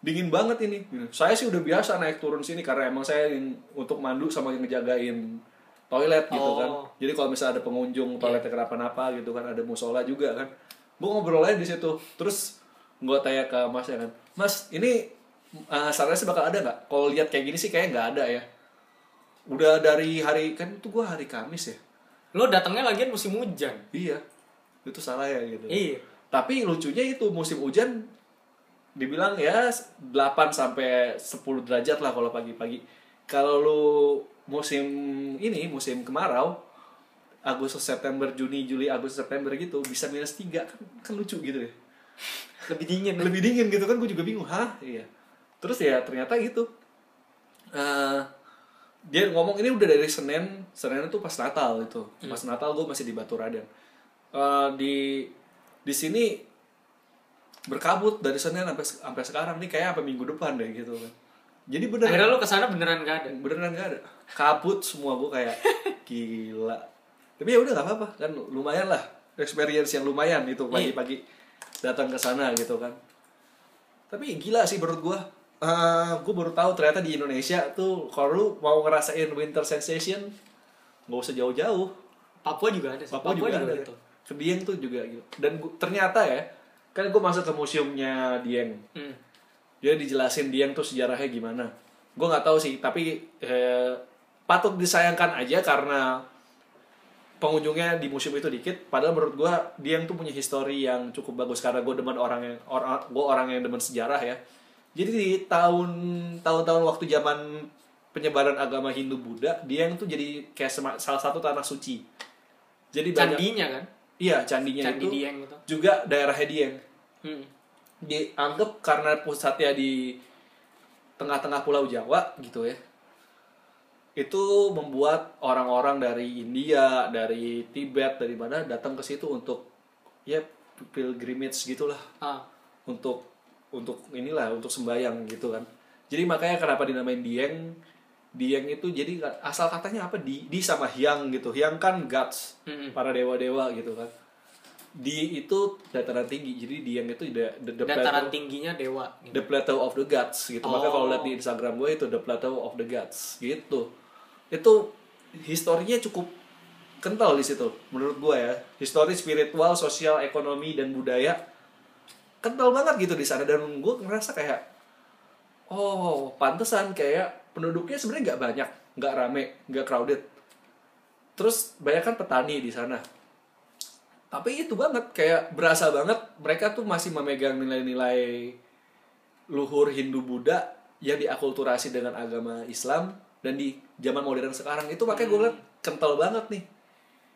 dingin banget ini Iya. saya sih udah biasa naik turun sini karena emang saya yang untuk mandu sama yang ngejagain toilet gitu Oh. Iya. kan jadi kalau misalnya ada pengunjung toiletnya kenapa-napa gitu kan ada musola juga kan gue ngobrol aja di situ terus gue tanya ke mas ya kan mas ini uh, sunrise bakal ada nggak kalau lihat kayak gini sih kayak nggak ada ya udah dari hari kan itu gue hari Kamis ya lu datangnya lagian musim hujan iya itu salah ya gitu iya tapi lucunya itu musim hujan dibilang ya 8 sampai 10 derajat lah kalau pagi-pagi. Kalau lu musim ini musim kemarau Agustus September Juni Juli Agustus September gitu bisa minus 3 kan, kan lucu gitu ya. lebih dingin Lebih dingin gitu kan gue juga bingung, hah? Iya. Terus ya ternyata gitu. Eh, dia ngomong ini udah dari Senin, Senin itu pas Natal itu. Pas Natal gue masih di Batu Raden. Eh, di di sini berkabut dari Senin sampai sampai sekarang nih kayak apa minggu depan deh gitu kan. Jadi beneran akhirnya lu kesana beneran gak ada beneran gak ada kabut semua gue kayak gila tapi ya udah nggak apa-apa kan lumayan lah experience yang lumayan itu pagi-pagi datang ke sana gitu kan tapi gila sih menurut gue gue baru tahu ternyata di Indonesia tuh kalau lu mau ngerasain winter sensation nggak usah jauh-jauh Papua juga ada sih Papua, juga, ada gitu. ke Dieng tuh juga gitu dan gua- ternyata ya kan gue masuk ke museumnya Dieng Hmm. dia dijelasin Dieng tuh sejarahnya gimana gue nggak tahu sih tapi eh, patut disayangkan aja karena pengunjungnya di museum itu dikit padahal menurut gue Dieng tuh punya histori yang cukup bagus karena gue demen orang yang orang gue orang yang demen sejarah ya jadi di tahun tahun-tahun waktu zaman penyebaran agama Hindu Buddha dia yang tuh jadi kayak sema- salah satu tanah suci jadi banyak candinya kan iya candinya candi itu dieng gitu juga daerahnya Dieng hmm. dianggap karena pusatnya di tengah-tengah Pulau Jawa gitu ya itu membuat orang-orang dari India, dari Tibet, dari mana datang ke situ untuk ya pilgrimage gitulah ah untuk untuk inilah untuk sembayang gitu kan jadi makanya kenapa dinamain dieng dieng itu jadi asal katanya apa di di sama hyang gitu hyang kan gods Mm-mm. para dewa dewa gitu kan di itu dataran tinggi jadi dieng itu the, the, the dataran plateau, tingginya dewa gitu. the plateau of the gods gitu makanya Oh. kalau lihat di instagram gue itu the plateau of the gods gitu itu historinya cukup kental di situ menurut gue ya histori spiritual sosial ekonomi dan budaya kental banget gitu di sana dan gue ngerasa kayak oh pantesan kayak penduduknya sebenarnya nggak banyak nggak rame nggak crowded terus banyak kan petani di sana tapi itu banget kayak berasa banget mereka tuh masih memegang nilai-nilai luhur Hindu Buddha yang diakulturasi dengan agama Islam dan di zaman modern sekarang itu makanya gue liat kental banget nih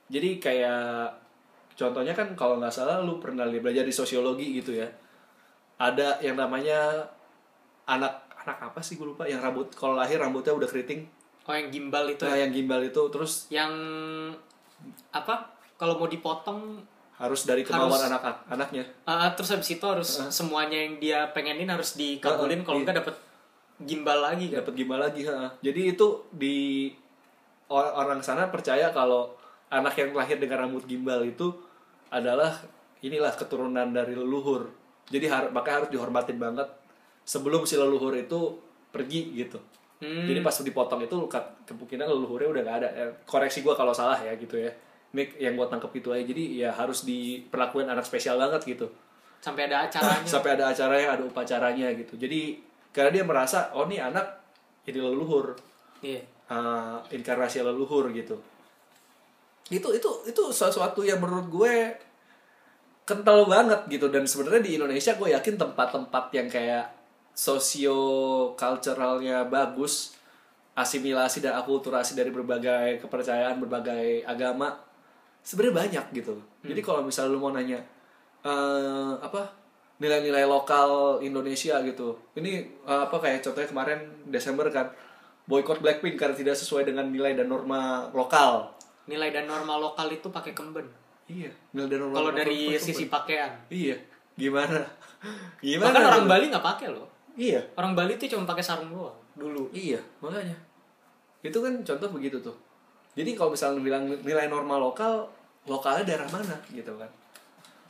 jadi kayak contohnya kan kalau nggak salah lu pernah li- belajar di sosiologi gitu ya ada yang namanya anak anak apa sih gue lupa yang rambut kalau lahir rambutnya udah keriting oh yang gimbal itu nah ya. yang gimbal itu terus yang apa kalau mau dipotong harus dari kemauan Harus- anak anaknya ah, terus habis itu harus semuanya yang dia pengenin harus dikabulin Ah, ah, Nah. kalau iya. enggak dapet gimbal lagi kan dapat gimana lagi ha. jadi itu di or- orang sana percaya kalau anak yang lahir dengan rambut gimbal itu adalah inilah keturunan dari leluhur jadi har- makanya harus dihormatin banget sebelum si leluhur itu pergi gitu Hmm. jadi pas dipotong itu kat- kemungkinan leluhurnya udah nggak ada Eh, koreksi gua kalau salah ya gitu ya ini yang gua tangkep itu aja jadi ya harus diperlakuin anak spesial banget gitu sampai ada acaranya Iya. sampai ada acaranya ada upacaranya gitu jadi karena dia merasa oh nih anak ini leluhur Iya. eh, inkarnasi leluhur gitu itu itu itu sesuatu yang menurut gue kental banget gitu dan sebenarnya di Indonesia gue yakin tempat-tempat yang kayak sosio culturalnya bagus asimilasi dan akulturasi dari berbagai kepercayaan berbagai agama sebenarnya banyak gitu Hmm. jadi kalau misalnya lu mau nanya eh, apa nilai-nilai lokal Indonesia gitu ini eh, apa kayak contohnya kemarin Desember kan boykot Blackpink karena tidak sesuai dengan nilai dan norma lokal nilai dan norma lokal itu pakai kemben iya nilai dan norma kalau lokal itu dari pakai sisi pakaian Iya. Gimana? Gimana? bahkan orang Bali nggak pakai loh Iya. orang Bali tuh cuma pakai sarung doang dulu Iya, makanya. Itu kan contoh begitu tuh. Jadi kalau misalnya bilang nilai normal lokal, lokalnya daerah mana gitu kan.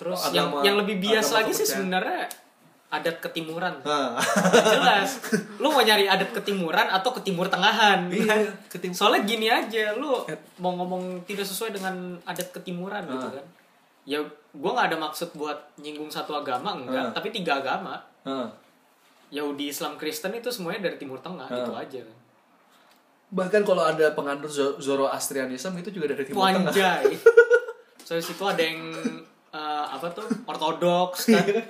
terus Oh, yang agama- yang lebih bias agama lagi sih kepercayaan. sebenarnya adat ketimuran Nah, jelas lu mau nyari adat ketimuran atau ke timur tengahan Iya, ke timur. soalnya gini aja lu mau ngomong tidak sesuai dengan adat ketimuran gitu Ah. kan ya gua nggak ada maksud buat nyinggung satu agama Ah. enggak tapi tiga agama nah. Yahudi Islam Kristen itu semuanya dari timur Ah. tengah gitu aja kan Bahkan kalau ada penganut Zo- Zoroastrianism itu juga dari Timur Tengah. Wanjai so habis itu ada yang eh, apa tuh ortodoks kan Iya.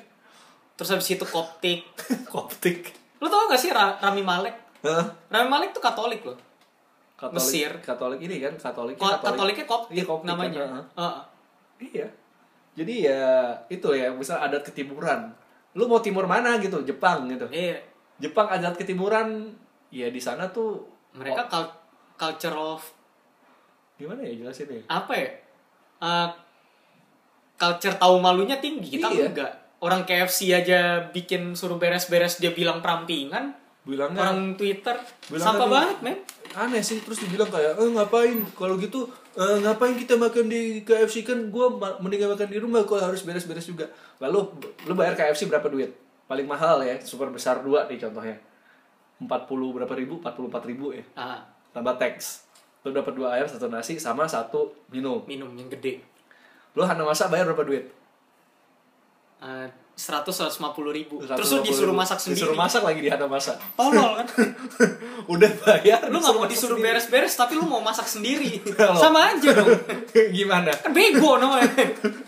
terus habis itu koptik Koptik. lu tau gak sih Ra- Rami Malek Hah? Rami Malek tuh Katolik loh Katolik, Mesir. Katolik ini kan Iya, Katolik. Ko- Katoliknya koptik, Iya, Koptik namanya kan, heeh. Heeh. Iya. Jadi ya itu ya, misal adat ketimuran. Lu mau timur mana gitu? Jepang gitu. Iya. Jepang adat ketimuran ya di sana tuh Mereka kal- culture of gimana ya jelasin ya apa ya? Eh, culture tahu malunya tinggi kita Iya. enggak. Orang KFC aja bikin suruh beres-beres dia bilang perampingan. bilangnya Orang Twitter Bilang sampah tadi- banget, men. aneh sih terus dibilang kayak eh ngapain kalau gitu eh, ngapain kita makan di KFC kan gue mendingan makan di rumah kok harus beres-beres juga lalu b- lu bayar KFC berapa duit paling mahal ya super besar dua nih contohnya 40 berapa ribu 44 ribu ya Ah, tambah teks lu dapat dua ayam satu nasi sama satu minum minum yang gede. lu hana masak bayar berapa duit Eh, 100 150 ribu. Terus 150 lu disuruh ribu. masak sendiri. disuruh masak lagi di hana masak Tolol kan. udah bayar Lu nggak mau masak disuruh sendiri. Iya, beres-beres tapi lu mau masak sendiri. Tolol. Sama aja dong. gimana Kan bego namanya.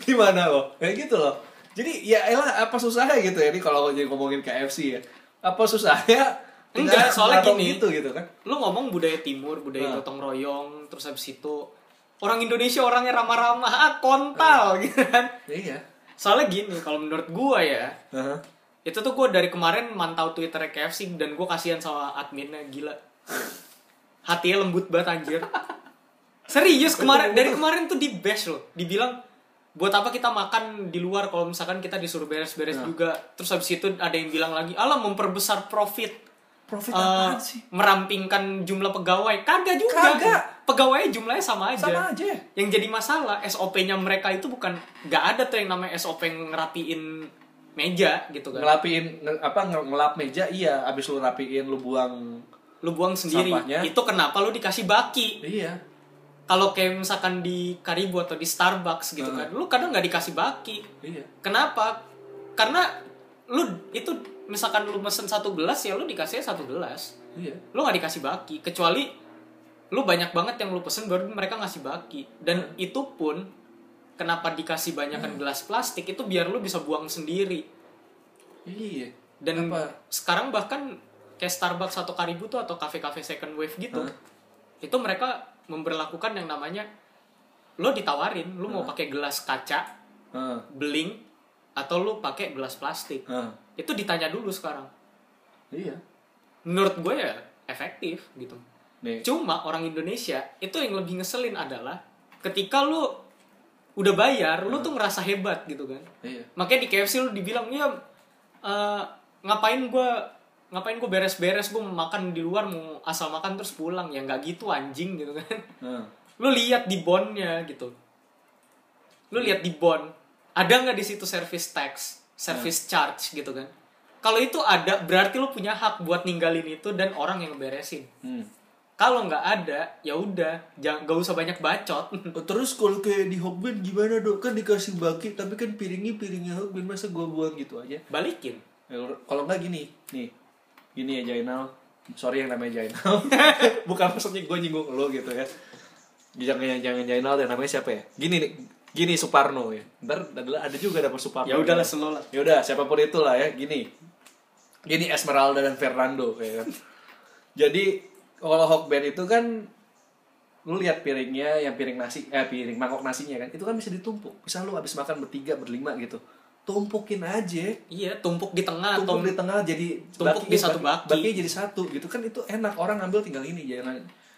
gimana loh kayak gitu loh jadi ya elah apa susahnya gitu ya ini kalau jadi ngomongin KFC ya apa susahnya Enggak, soalnya Atau gini. gitu gitu kan Lu ngomong budaya timur, budaya Nah. gotong royong, terus habis itu orang Indonesia orangnya ramah-ramah, ah, kontal gitu kan. Ya, iya Soalnya gini, kalau menurut gua ya, Heeh. itu tuh gue dari kemarin mantau Twitter KFC dan gue kasihan sama adminnya gila hatinya lembut banget anjir serius kemarin dari kemarin tuh di bash loh dibilang buat apa kita makan di luar kalau misalkan kita disuruh beres-beres Nah. juga terus habis itu ada yang bilang lagi alah memperbesar profit profit Eh, apaan sih merampingkan jumlah pegawai kagak juga Kagak. pegawainya jumlahnya sama aja sama aja ya yang jadi masalah SOP-nya mereka itu bukan nggak ada tuh yang namanya SOP yang ngerapiin meja gitu kan ngelapiin nge- apa nge- ngelap meja iya abis lu rapiin lu buang lu buang sendiri Sampahnya. itu kenapa lu dikasih baki iya kalau kayak misalkan di Karibu atau di Starbucks gitu kan lu kadang nggak dikasih baki iya kenapa karena lu itu misalkan lu mesen satu gelas ya lu dikasih satu gelas iya lu nggak dikasih baki kecuali lu banyak banget yang lu pesen baru mereka ngasih baki dan itu pun kenapa dikasih banyakan gelas plastik itu biar lu bisa buang sendiri iya dan Apa? sekarang bahkan kayak Starbucks atau Karibu tuh atau kafe-kafe second wave gitu Hah? itu mereka memberlakukan yang namanya lo ditawarin lo mau pakai gelas kaca Heeh. beling atau lo pakai gelas plastik Heeh. itu ditanya dulu sekarang iya menurut gue ya efektif gitu nih cuma orang Indonesia itu yang lebih ngeselin adalah ketika lo udah bayar lo tuh ngerasa hebat gitu kan iya makanya di KFC lu dibilang ya eh, ngapain gua ngapain gue beres-beres gue makan di luar mau asal makan terus pulang ya nggak gitu anjing gitu kan Heeh. lu lihat di bonnya gitu lu lihat di bon ada nggak di situ service tax service Hmm. charge gitu kan kalau itu ada berarti lu punya hak buat ninggalin itu dan orang yang beresin Hmm. kalau nggak ada ya udah jangan gak usah banyak bacot Oh, Terus kalau kayak di Hokben gimana dok? Kan dikasih baki, tapi kan piringnya piringnya Hokben masa gua buang gitu aja. balikin Ya, Kalau nggak gini, nih, gini ya Jainal. Sorry yang namanya Jainal. Bukan maksudnya gue nyinggung lo gitu ya. Jangan jangan Jainal yang namanya siapa ya? Gini nih, gini Suparno ya. Ntar adalah ada juga dapat Suparno. ya udahlah selola Ya udah, siapapun itulah ya. Gini, gini Esmeralda dan Fernando ya kan. Jadi kalau Hokben itu kan lu lihat piringnya yang piring nasi eh piring mangkok nasinya kan itu kan bisa ditumpuk bisa lu habis makan bertiga berlima gitu tumpukin aja iya tumpuk di tengah tumpuk atau di tengah jadi tumpuk di satu baki. bakinya jadi satu gitu kan itu enak orang ngambil tinggal ini jangan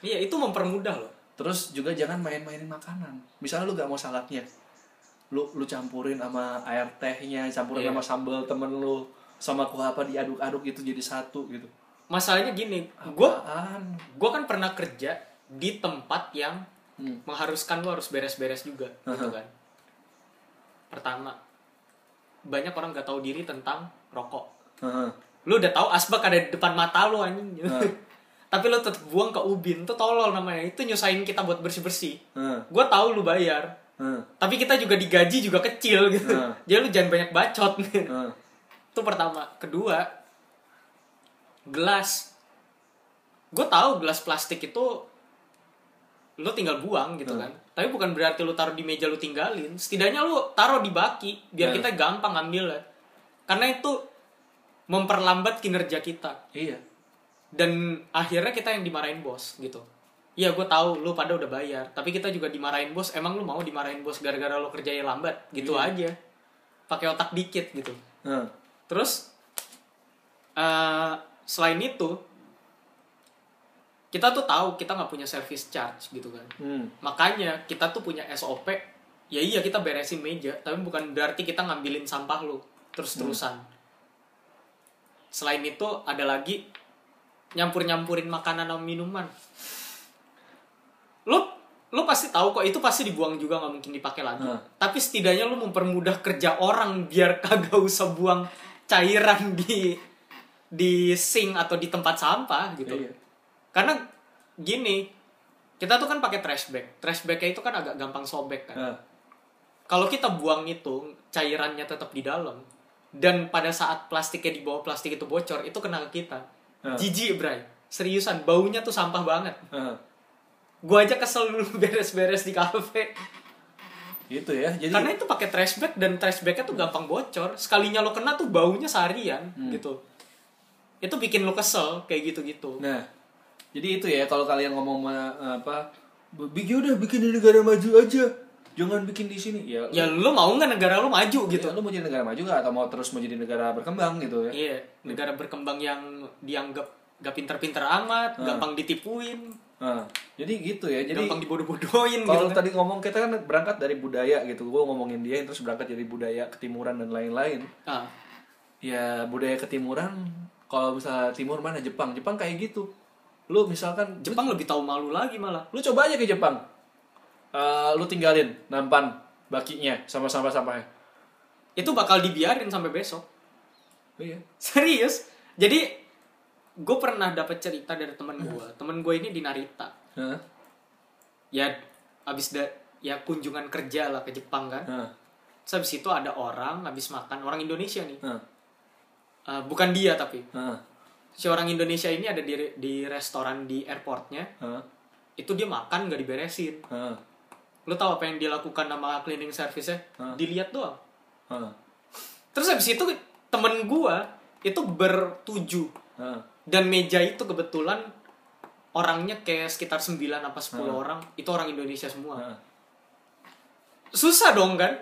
iya itu mempermudah loh terus juga jangan main-mainin makanan misalnya lu gak mau saladnya lu lu campurin sama air tehnya campurin Iya. sama sambal temen lu sama kuah apa diaduk-aduk itu jadi satu gitu masalahnya gini gue Apaan? gue kan pernah kerja di tempat yang Hmm. mengharuskan lo harus beres-beres juga gitu Aha. kan pertama banyak orang gak tahu diri tentang rokok Heeh. lu udah tahu asbak ada di depan mata lu anjing Hah. tapi lu tetap buang ke ubin tuh tolol namanya itu nyusahin kita buat bersih-bersih Heeh. gue tahu lu bayar Heeh. tapi kita juga digaji juga kecil gitu Hah. jadi lu jangan banyak bacot Heeh. itu pertama kedua gelas gue tahu gelas plastik itu lo tinggal buang gitu kan tapi bukan berarti lo taruh di meja lo tinggalin setidaknya lo taruh di baki biar Hmm. kita gampang ngambil karena itu memperlambat kinerja kita iya dan akhirnya kita yang dimarahin bos gitu Iya gue tahu lu pada udah bayar tapi kita juga dimarahin bos emang lu mau dimarahin bos gara-gara lo kerjanya lambat gitu aja pakai otak dikit gitu Heeh. Terus eh selain itu kita tuh tahu kita nggak punya service charge gitu kan. Hmm. Makanya kita tuh punya SOP. Ya iya kita beresin meja, tapi bukan berarti kita ngambilin sampah lu terus-terusan. Hmm. Selain itu ada lagi nyampur-nyampurin makanan sama minuman. Lu lu pasti tahu kok itu pasti dibuang juga nggak mungkin dipakai lagi. Hmm. Tapi setidaknya lu mempermudah kerja orang biar kagak usah buang cairan di di sink atau di tempat sampah gitu. Iya. Karena gini, kita tuh kan pakai trash bag. Trash bag-nya itu kan agak gampang sobek kan. Heeh. Kalau kita buang itu, cairannya tetap di dalam. Dan pada saat plastiknya di bawah plastik itu bocor, itu kena ke kita. Heeh. Jijik, Bray. Seriusan, baunya tuh sampah banget. Heeh. Gua aja kesel dulu beres-beres di kafe. gitu ya jadi Karena itu pakai trash bag dan trash bag-nya tuh gampang bocor. Sekalinya lo kena tuh baunya seharian gitu. itu bikin lo kesel kayak gitu-gitu Nah, jadi itu ya kalau kalian ngomong ma- apa, bikin udah bikin di negara maju aja, jangan bikin di sini. Ya, ya lo mau nggak negara lo maju gitu. gitu lu mau jadi negara maju gak atau mau terus mau jadi negara berkembang gitu ya? iya negara berkembang yang dianggap gak pinter-pinter amat gampang ditipuin Nah, jadi gitu ya. Ah. Jadi gampang dibodoh-bodohin gitu kalau tadi ngomong kita kan berangkat dari budaya gitu, gue ngomongin dia terus berangkat jadi budaya ketimuran dan lain-lain. ah Ya budaya ketimuran, kalau misalnya timur mana Jepang, Jepang kayak gitu. Lu misalkan Jepang lebih tahu malu lagi malah lu coba aja ke Jepang Eh, lu tinggalin nampan bakinya sama sampah sampahnya itu bakal dibiarin sampai besok iya serius jadi gue pernah dapat cerita dari temen Hmm. gue temen gue ini di Narita Hah? ya abis da ya kunjungan kerja lah ke Jepang kan Hah? terus abis itu ada orang abis makan orang Indonesia nih Hah? Eh, bukan dia tapi Hah? si orang Indonesia ini ada di di restoran di airportnya Hah? itu dia makan nggak diberesin Hah? lo tau apa yang dilakukan sama cleaning service nya Hah? dilihat doang Hah? terus abis itu temen gue itu bertujuh Hah? dan meja itu kebetulan orangnya kayak sekitar 9 apa 10 orang itu orang Indonesia semua Hah? susah dong kan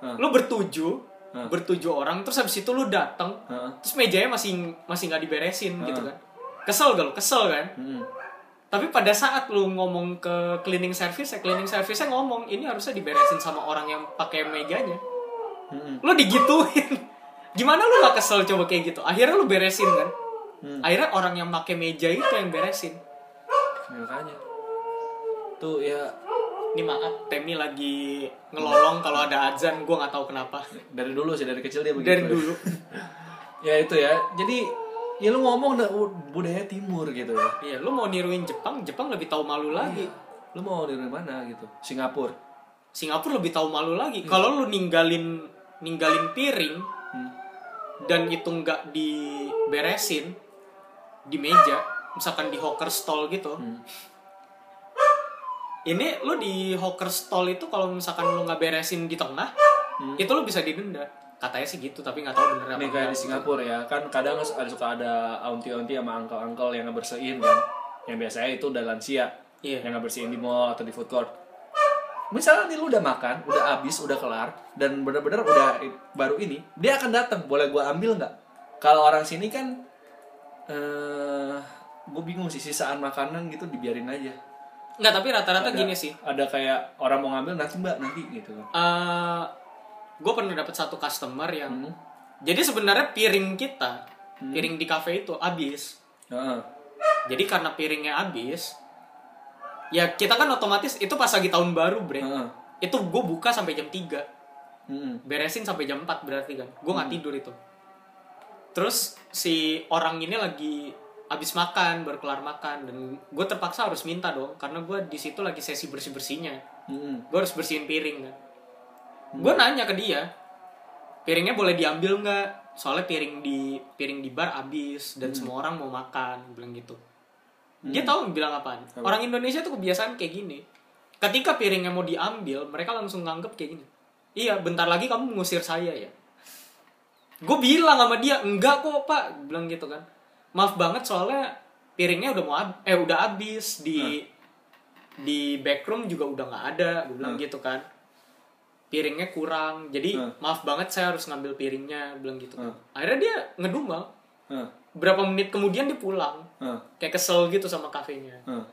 Hmm. lo bertuju Hmm. bertuju orang terus habis itu lo datang Hah? terus mejanya masih masih nggak diberesin Hmm. gitu kan kesel gak lo kesel kan Hmm. tapi pada saat lo ngomong ke cleaning service cleaning service ngomong ini harusnya diberesin sama orang yang pakai mejanya Hmm. lo digituin gimana lo gak kesel coba kayak gitu akhirnya lo beresin kan Hmm. akhirnya orang yang pakai meja itu yang beresin makanya tuh ya Ini maaf, Temi lagi ngelolong kalau ada azan, gue nggak tahu kenapa. dari dulu sih dari kecil dia begitu Dari ya. dulu. ya itu ya jadi ya lu ngomong udah, uh, budaya timur gitu ya Iya, lu mau niruin Jepang, Jepang lebih tahu malu lagi. Iya. lu mau dari mana gitu Singapura Singapura lebih tahu malu Hmm. lagi. Kalau lu ninggalin ninggalin piring dan itu nggak diberesin di meja, misalkan di hawker stall gitu. Hmm. Ini lu di hawker stall itu kalau misalkan lu nggak beresin di tengah, itu lu bisa didenda. Katanya sih gitu, tapi nggak tahu bener apa. Nih Hmm. kayak di enggak. Singapura ya, kan kadang ada suka ada auntie-auntie sama uncle-uncle yang ngebersihin kan. Yang biasanya itu udah lansia. Iya. Yang ngebersihin di mall atau di food court. Misalnya nih lu udah makan, udah habis, udah kelar dan bener-bener udah i- baru ini, dia akan datang. Boleh gua ambil nggak? Kalau orang sini kan eh gue bingung sih sisaan makanan gitu dibiarin aja. Nggak, tapi rata-rata Ada- gini sih. Ada kayak orang mau ngambil nanti Mbak, nanti gitu. eh gue pernah dapat satu customer Hmm. yang jadi sebenarnya piring kita piring di cafe itu habis Heeh. jadi karena piringnya habis ya kita kan otomatis itu pas lagi tahun baru bre Heeh. Hmm. itu gue buka sampai jam 3 Heeh. beresin sampai jam 4 berarti kan gue nggak tidur itu terus si orang ini lagi habis makan baru kelar makan dan gue terpaksa harus minta dong karena gue di situ lagi sesi bersih bersihnya Heeh. gue harus bersihin piring kan gue nanya ke dia piringnya boleh diambil nggak soalnya piring di piring di bar habis dan semua orang mau makan bilang gitu dia tahu bilang apaan orang Indonesia tuh kebiasaan kayak gini ketika piringnya mau diambil mereka langsung nganggep kayak gini iya bentar lagi kamu mengusir saya ya gue bilang sama dia enggak kok pak bilang gitu kan maaf banget soalnya piringnya udah mau hab- eh udah habis di di backroom juga udah nggak ada gue bilang gitu kan piringnya kurang jadi Hmm. maaf banget saya harus ngambil piringnya bilang gitu kan Hmm. akhirnya dia ngedumel Heeh. berapa menit kemudian dia pulang Heeh. kayak kesel gitu sama kafenya Heeh.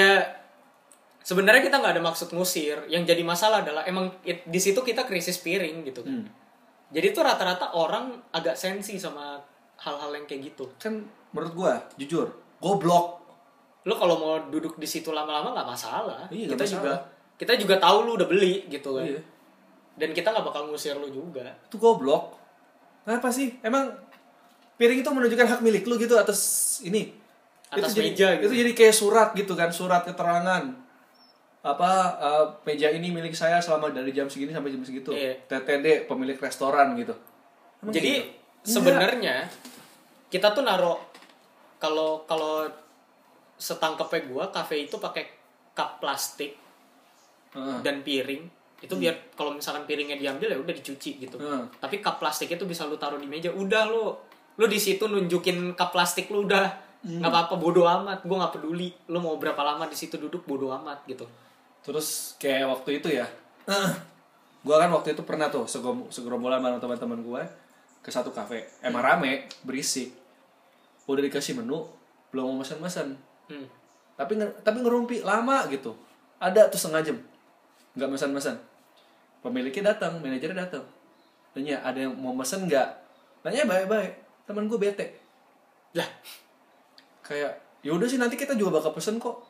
ya sebenarnya kita nggak ada maksud ngusir yang jadi masalah adalah emang it- di situ kita krisis piring gitu kan Hmm. jadi tuh rata-rata orang agak sensi sama hal-hal yang kayak gitu kan menurut gua jujur goblok lo kalau mau duduk di situ lama-lama nggak masalah Iya, nggak kita juga masalah. kita juga tahu lu udah beli gitu kan Iya. dan kita nggak bakal ngusir lu juga itu goblok kenapa sih emang piring itu menunjukkan hak milik lu gitu atas ini Atas itu meja jadi, gitu. itu jadi kayak surat gitu kan surat keterangan apa eh, meja ini milik saya selama dari jam segini sampai jam segitu Iya. TTD pemilik restoran gitu Emang jadi gitu? sebenarnya kita tuh naro kalau kalau setangkepnya gua kafe itu pakai cup plastik Heeh. dan piring itu biar kalau misalkan piringnya diambil ya udah dicuci gitu Hmm. tapi cup plastiknya tuh bisa lu taruh di meja udah lu lu di situ nunjukin ke plastik lu udah Hmm. nggak apa-apa bodo amat gue nggak peduli lu mau berapa lama di situ duduk bodo amat gitu Terus kayak waktu itu ya, gue kan waktu itu pernah tuh segom- segerombolan bareng teman-teman gue ke satu kafe. Emang rame, berisik. Udah dikasih menu, belum mau pesan-pesan. hmm. Tapi nge- tapi ngerumpi lama gitu. Ada tuh setengah jam, nggak pesan-pesan. Pemiliknya datang, manajernya datang. Tanya ada yang mau pesan nggak? Tanya baik-baik. Temen gue bete. lah Kayak yaudah sih nanti kita juga bakal pesen kok.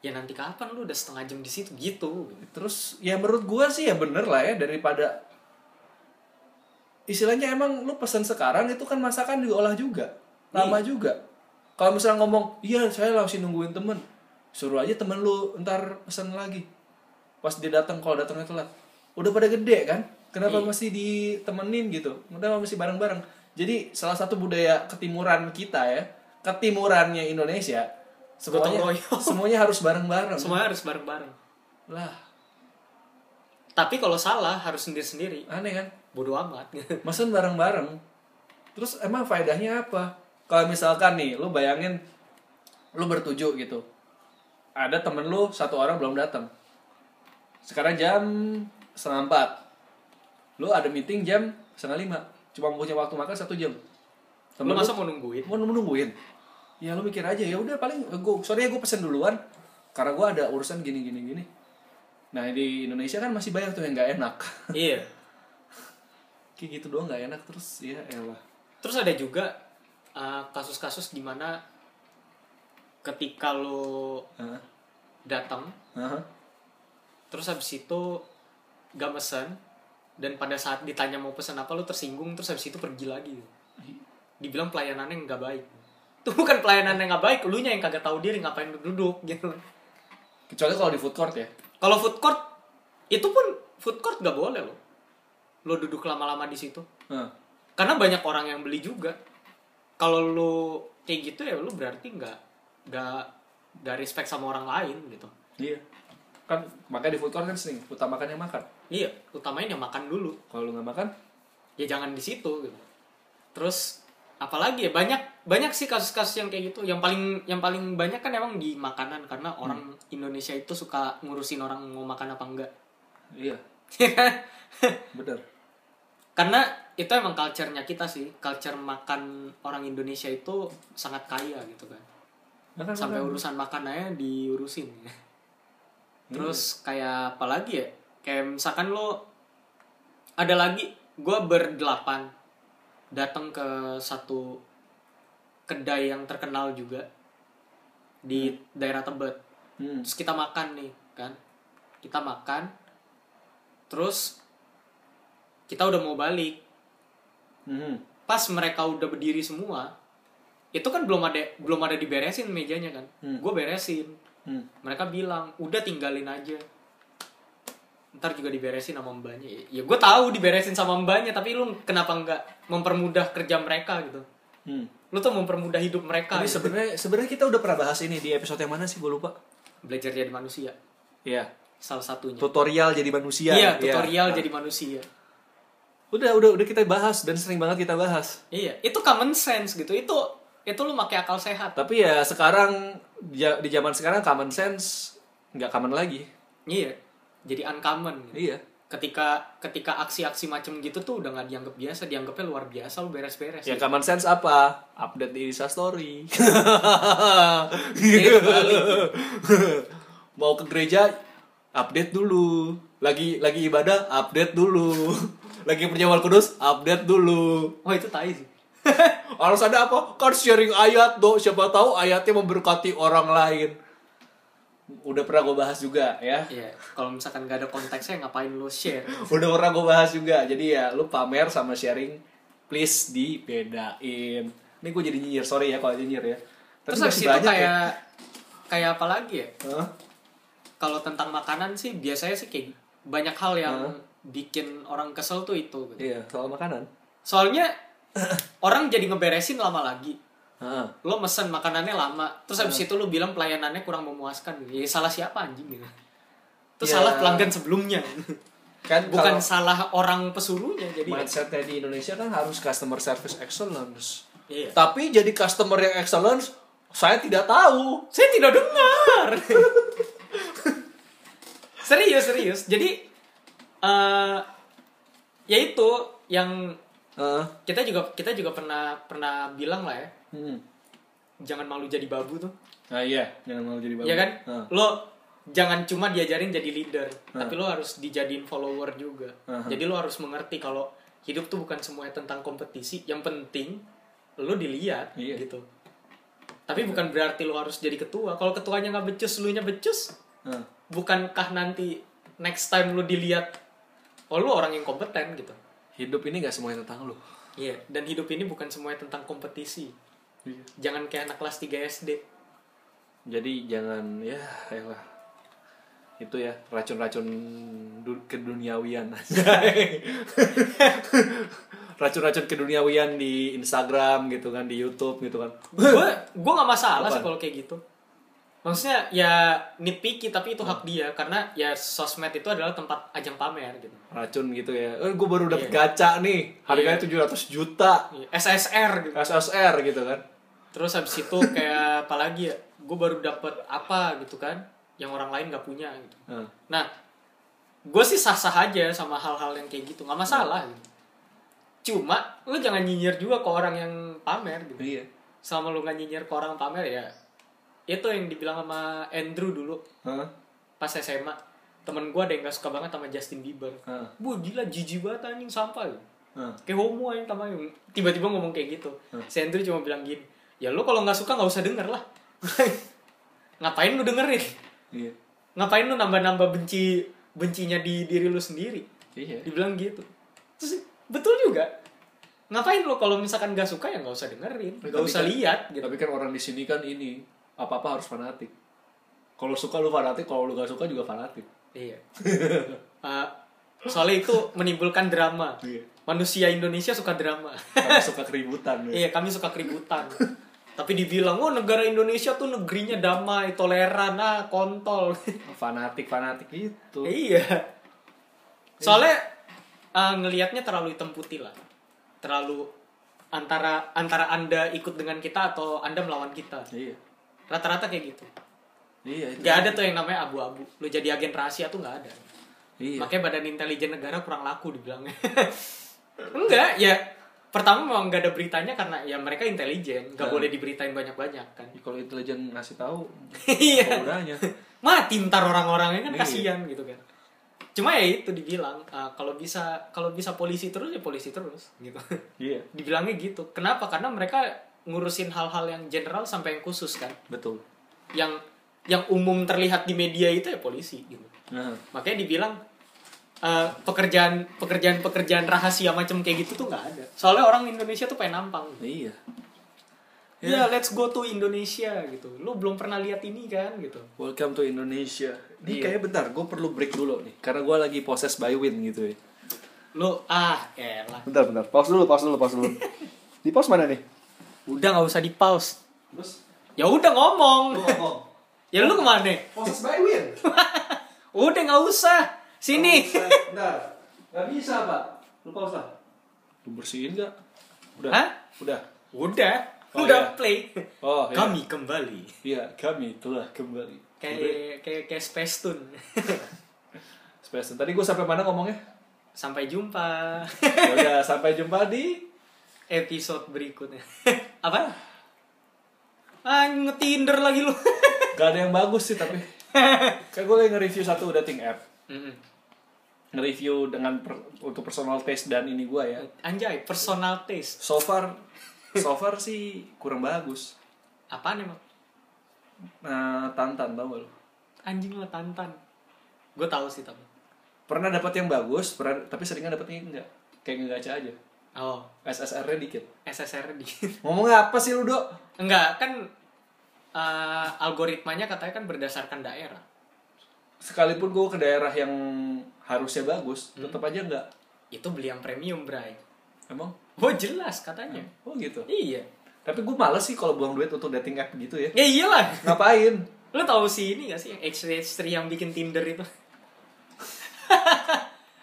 ya nanti kapan lu udah setengah jam di situ gitu Terus ya menurut gua sih ya bener lah ya daripada istilahnya emang lu pesan sekarang itu kan masakan diolah juga lama Iya. juga. Kalau misalnya ngomong iya saya langsung nungguin temen suruh aja temen lu ntar pesan lagi pas dia datang kalau datangnya telat udah pada gede kan kenapa Iya. masih ditemenin gitu kenapa masih bareng-bareng jadi salah satu budaya ketimuran kita ya ketimurannya Indonesia semuanya Gotong royong. semuanya harus bareng-bareng semua harus bareng-bareng lah tapi kalau salah harus sendiri-sendiri aneh kan bodo amat mesen bareng-bareng terus emang faedahnya apa kalau misalkan nih lu bayangin lu bertuju gitu ada temen lu satu orang belum datang sekarang jam setengah empat lu ada meeting jam setengah lima cuma punya waktu makan satu jam lu temen lu masa mau nungguin mau menungguin ya lu mikir aja ya udah paling gue sorry ya gue pesen duluan karena gue ada urusan gini gini gini nah di Indonesia kan masih banyak tuh yang nggak enak iya kayak gitu doang nggak enak terus ya elah terus ada juga eh, kasus-kasus di mana ketika lu Hah? datang Hah? terus habis itu gak mesen dan pada saat ditanya mau pesan apa lu tersinggung terus habis itu pergi lagi dibilang pelayanannya nggak baik itu bukan pelayanan yang nggak baik lu yang kagak tahu diri ngapain lu duduk gitu kecuali kalau di food court ya kalau food court itu pun food court nggak boleh lo lo duduk lama-lama di situ Hah. karena banyak orang yang beli juga kalau lu kayak gitu ya lu berarti nggak nggak nggak respect sama orang lain gitu iya kan makanya di food court kan sering utamakan yang makan iya utamain yang makan dulu kalau lu nggak makan ya jangan di situ gitu terus apalagi ya banyak banyak sih kasus-kasus yang kayak gitu yang paling yang paling banyak kan emang di makanan karena orang Indonesia itu suka ngurusin orang mau makan apa enggak iya kan? bener karena itu emang culture-nya kita sih culture makan orang Indonesia itu sangat kaya gitu kan makan sampai makan. urusan makanannya diurusin Iya. terus kayak apa lagi ya kayak misalkan lo ada lagi gue berdelapan datang ke satu kedai yang terkenal juga di daerah Tebet hmm. terus kita makan nih kan kita makan terus kita udah mau balik Hmm. pas mereka udah berdiri semua itu kan belum ada belum ada diberesin mejanya kan Hmm. gue beresin Hmm. mereka bilang udah tinggalin aja ntar juga diberesin sama mbaknya ya gue tahu diberesin sama mbaknya tapi lu kenapa nggak mempermudah kerja mereka gitu Hmm. lu tuh mempermudah hidup mereka Tapi gitu. sebenarnya sebenarnya kita udah pernah bahas ini di episode yang mana sih gue lupa belajar jadi manusia iya salah satunya tutorial jadi manusia Ah. iya tutorial jadi manusia udah udah udah kita bahas dan sering banget kita bahas iya itu common sense gitu itu itu lu pakai akal sehat tapi ya sekarang di ja- di zaman sekarang common sense nggak common lagi iya jadi uncommon gitu. iya ketika ketika aksi-aksi macam gitu tuh udah nggak dianggap biasa dianggapnya luar biasa lu beres-beres Ya common sense apa? Update di Insta story. Jadi terbalik. Mau ke gereja update dulu. Lagi lagi ibadah update dulu. Lagi perjamuan kudus update dulu. oh itu tai sih Harus ada apa? Kan sharing ayat do. Siapa tahu ayatnya memberkati orang lain. Udah pernah gue bahas juga ya. Iya, kalau misalkan gak ada konteksnya ngapain lu share? Udah pernah gue bahas juga. Jadi ya lu pamer sama sharing please dibedain. Ini gue jadi nyinyir, sorry ya kalau nyinyir ya. Tapi Terus habis masih itu banyak ya. kayak kayak apa lagi ya? Hah? Kalau tentang makanan sih biasanya sih kayak banyak hal yang Hah? bikin orang kesel tuh itu. gitu. Iya, soal makanan. Soalnya orang jadi ngeberesin lama lagi. Heeh. Lo mesen makanannya lama, terus habis itu lo bilang pelayanannya kurang memuaskan. Ya salah siapa anjing gitu. Itu Ya. salah pelanggan sebelumnya. Kan kalau Bukan salah orang pesuruhnya jadi. ya. mindsetnya di Indonesia kan harus customer service excellence. Iya. Tapi jadi customer yang excellence saya tidak tahu. Saya tidak dengar. serius, serius. Jadi eh ya itu yang Eh, kita juga kita juga pernah pernah bilang lah ya, hmm. jangan malu jadi babu tuh. Nah iya, jangan malu jadi babu. Ah. Iya kan? Heeh. Lo jangan cuma diajarin jadi leader, Heeh. tapi lo harus dijadiin follower juga. Heeh. Jadi lo harus mengerti kalau hidup tuh bukan semuanya tentang kompetisi, yang penting lo dilihat Iya. gitu. Tapi bukan berarti lo harus jadi ketua. Kalau ketuanya nggak becus, lu nya becus, Heeh. bukankah nanti next time lo dilihat oh lo orang yang kompeten gitu. Hidup ini gak semuanya tentang lu. Iya, dan hidup ini bukan semuanya tentang kompetisi. Iya. Jangan kayak anak kelas 3 SD. Jadi jangan ya elah. Itu ya racun-racun du- keduniawian. racun-racun keduniawian di Instagram gitu kan, di YouTube gitu kan. gue gue nggak masalah sih Apaan? kalau kayak gitu maksudnya ya nitpicky tapi itu hak dia karena ya sosmed itu adalah tempat ajang pamer gitu Racun gitu ya. Eh, gue baru dapet Iya. gacha nih. Harganya 700 juta. Iya, SSR gitu SSR gitu kan. terus habis itu kayak apa lagi ya gue baru dapet apa gitu kan yang orang lain nggak punya gitu Heeh. nah gue sih sah sah aja sama hal-hal yang kayak gitu nggak masalah gitu. cuma lu jangan nyinyir juga ke orang yang pamer gitu Iya. selama lu nggak nyinyir ke orang pamer ya itu yang dibilang sama Andrew dulu Heeh. pas SMA temen gue ada yang gak suka banget sama Justin Bieber Heeh. bu gila jijik banget anjing sampah lu. Heeh. kayak homo anjing tamanya tiba-tiba ngomong kayak gitu si Andrew cuma bilang gini ya lu kalau nggak suka nggak usah denger lah ngapain lu dengerin Iya. ngapain lu nambah-nambah benci bencinya di diri lu sendiri Iya. dibilang gitu terus betul juga ngapain lu kalau misalkan gak suka ya nggak usah dengerin nggak Tapi usah kan- lihat gitu Tapi kan orang di sini kan ini apa-apa harus fanatik. Kalau suka lu fanatik, kalau lu gak suka juga fanatik. Iya. Eh, soalnya itu menimbulkan drama. Iya. Manusia Indonesia suka drama. Karena suka keributan. ya. iya, kami suka keributan. Tapi dibilang, oh negara Indonesia tuh negerinya damai, toleran, ah kontol. Fanatik-fanatik gitu. iya. Soalnya eh, ngelihatnya terlalu hitam putih lah. Terlalu antara antara Anda ikut dengan kita atau Anda melawan kita. Iya. Rata-rata kayak gitu. Iya. itu. Gak ada tuh yang namanya abu-abu. Lu jadi agen rahasia tuh gak ada. Iya. Makanya badan intelijen negara kurang laku dibilangnya. Enggak, ya pertama memang nggak ada beritanya karena ya mereka intelijen, nggak Hmm. boleh diberitain banyak-banyak kan. Ya, Kalau intelijen ngasih tahu, Iya. penggunanya. Mati ntar orang-orangnya kan Iya. kasihan gitu kan. Cuma ya itu dibilang ah, kalau bisa kalau bisa polisi terus ya polisi terus gitu. Iya. Dibilangnya gitu. Kenapa? Karena mereka ngurusin hal-hal yang general sampai yang khusus kan. Betul. Yang yang umum terlihat di media itu ya polisi gitu. Nah, makanya dibilang eh, pekerjaan pekerjaan pekerjaan rahasia macam kayak gitu tuh nggak ada soalnya orang Indonesia tuh pengen nampang iya. ya let's go to Indonesia gitu lu belum pernah lihat ini kan gitu Welcome to Indonesia. Ini Iya. kayaknya bentar, gue perlu break dulu nih. Karena gue lagi proses by win gitu ya. lu ah elah Bentar, bentar. Pause dulu, pause dulu, pause dulu. Di pause mana nih? udah nggak usah di pause Terus, ya udah ngomong lu ngomong. ya lu kemana Proses by win. udah nggak usah sini Bentar. Gak bisa, Pak. Lu pause lah. Lu bersihin gak? Udah. Hah? Udah. udah Oh, udah iya. play Oh, iya. kami kembali Iya, kami telah kembali. kayak iya. kayak kayak Space Tune Space. Tadi gue sampai mana ngomongnya? sampai jumpa Ya udah, sampai jumpa di episode berikutnya. Apa? Ah, nge-Tinder lagi lu. Gak ada yang bagus sih tapi. Kayak gue lagi nge-review satu dating app. Mm-mm. Nge-review dengan per- untuk personal taste dan ini gue ya. Anjay, personal taste. So far, so far sih kurang bagus. Apaan emang? Nah, tantan tau gak lu? Anjing lah tantan. Gue tahu sih tapi. Pernah dapat yang bagus, pernah, tapi seringnya dapetnya enggak. Kayak ngegaca aja. Oh, SSR-nya dikit. SSR di. Ngomong apa sih lu, Dok? Enggak, kan eh, algoritmanya katanya kan berdasarkan daerah. Sekalipun gue ke daerah yang harusnya bagus, tetap aja enggak. Itu beli yang premium, Bray. Emang? Oh, jelas katanya. Oh gitu. Iya. Tapi gue males sih kalau buang duit untuk dating app gitu ya. Ya iyalah. Ngapain? Lu tahu sih ini gak sih yang X-Ray yang bikin Tinder itu?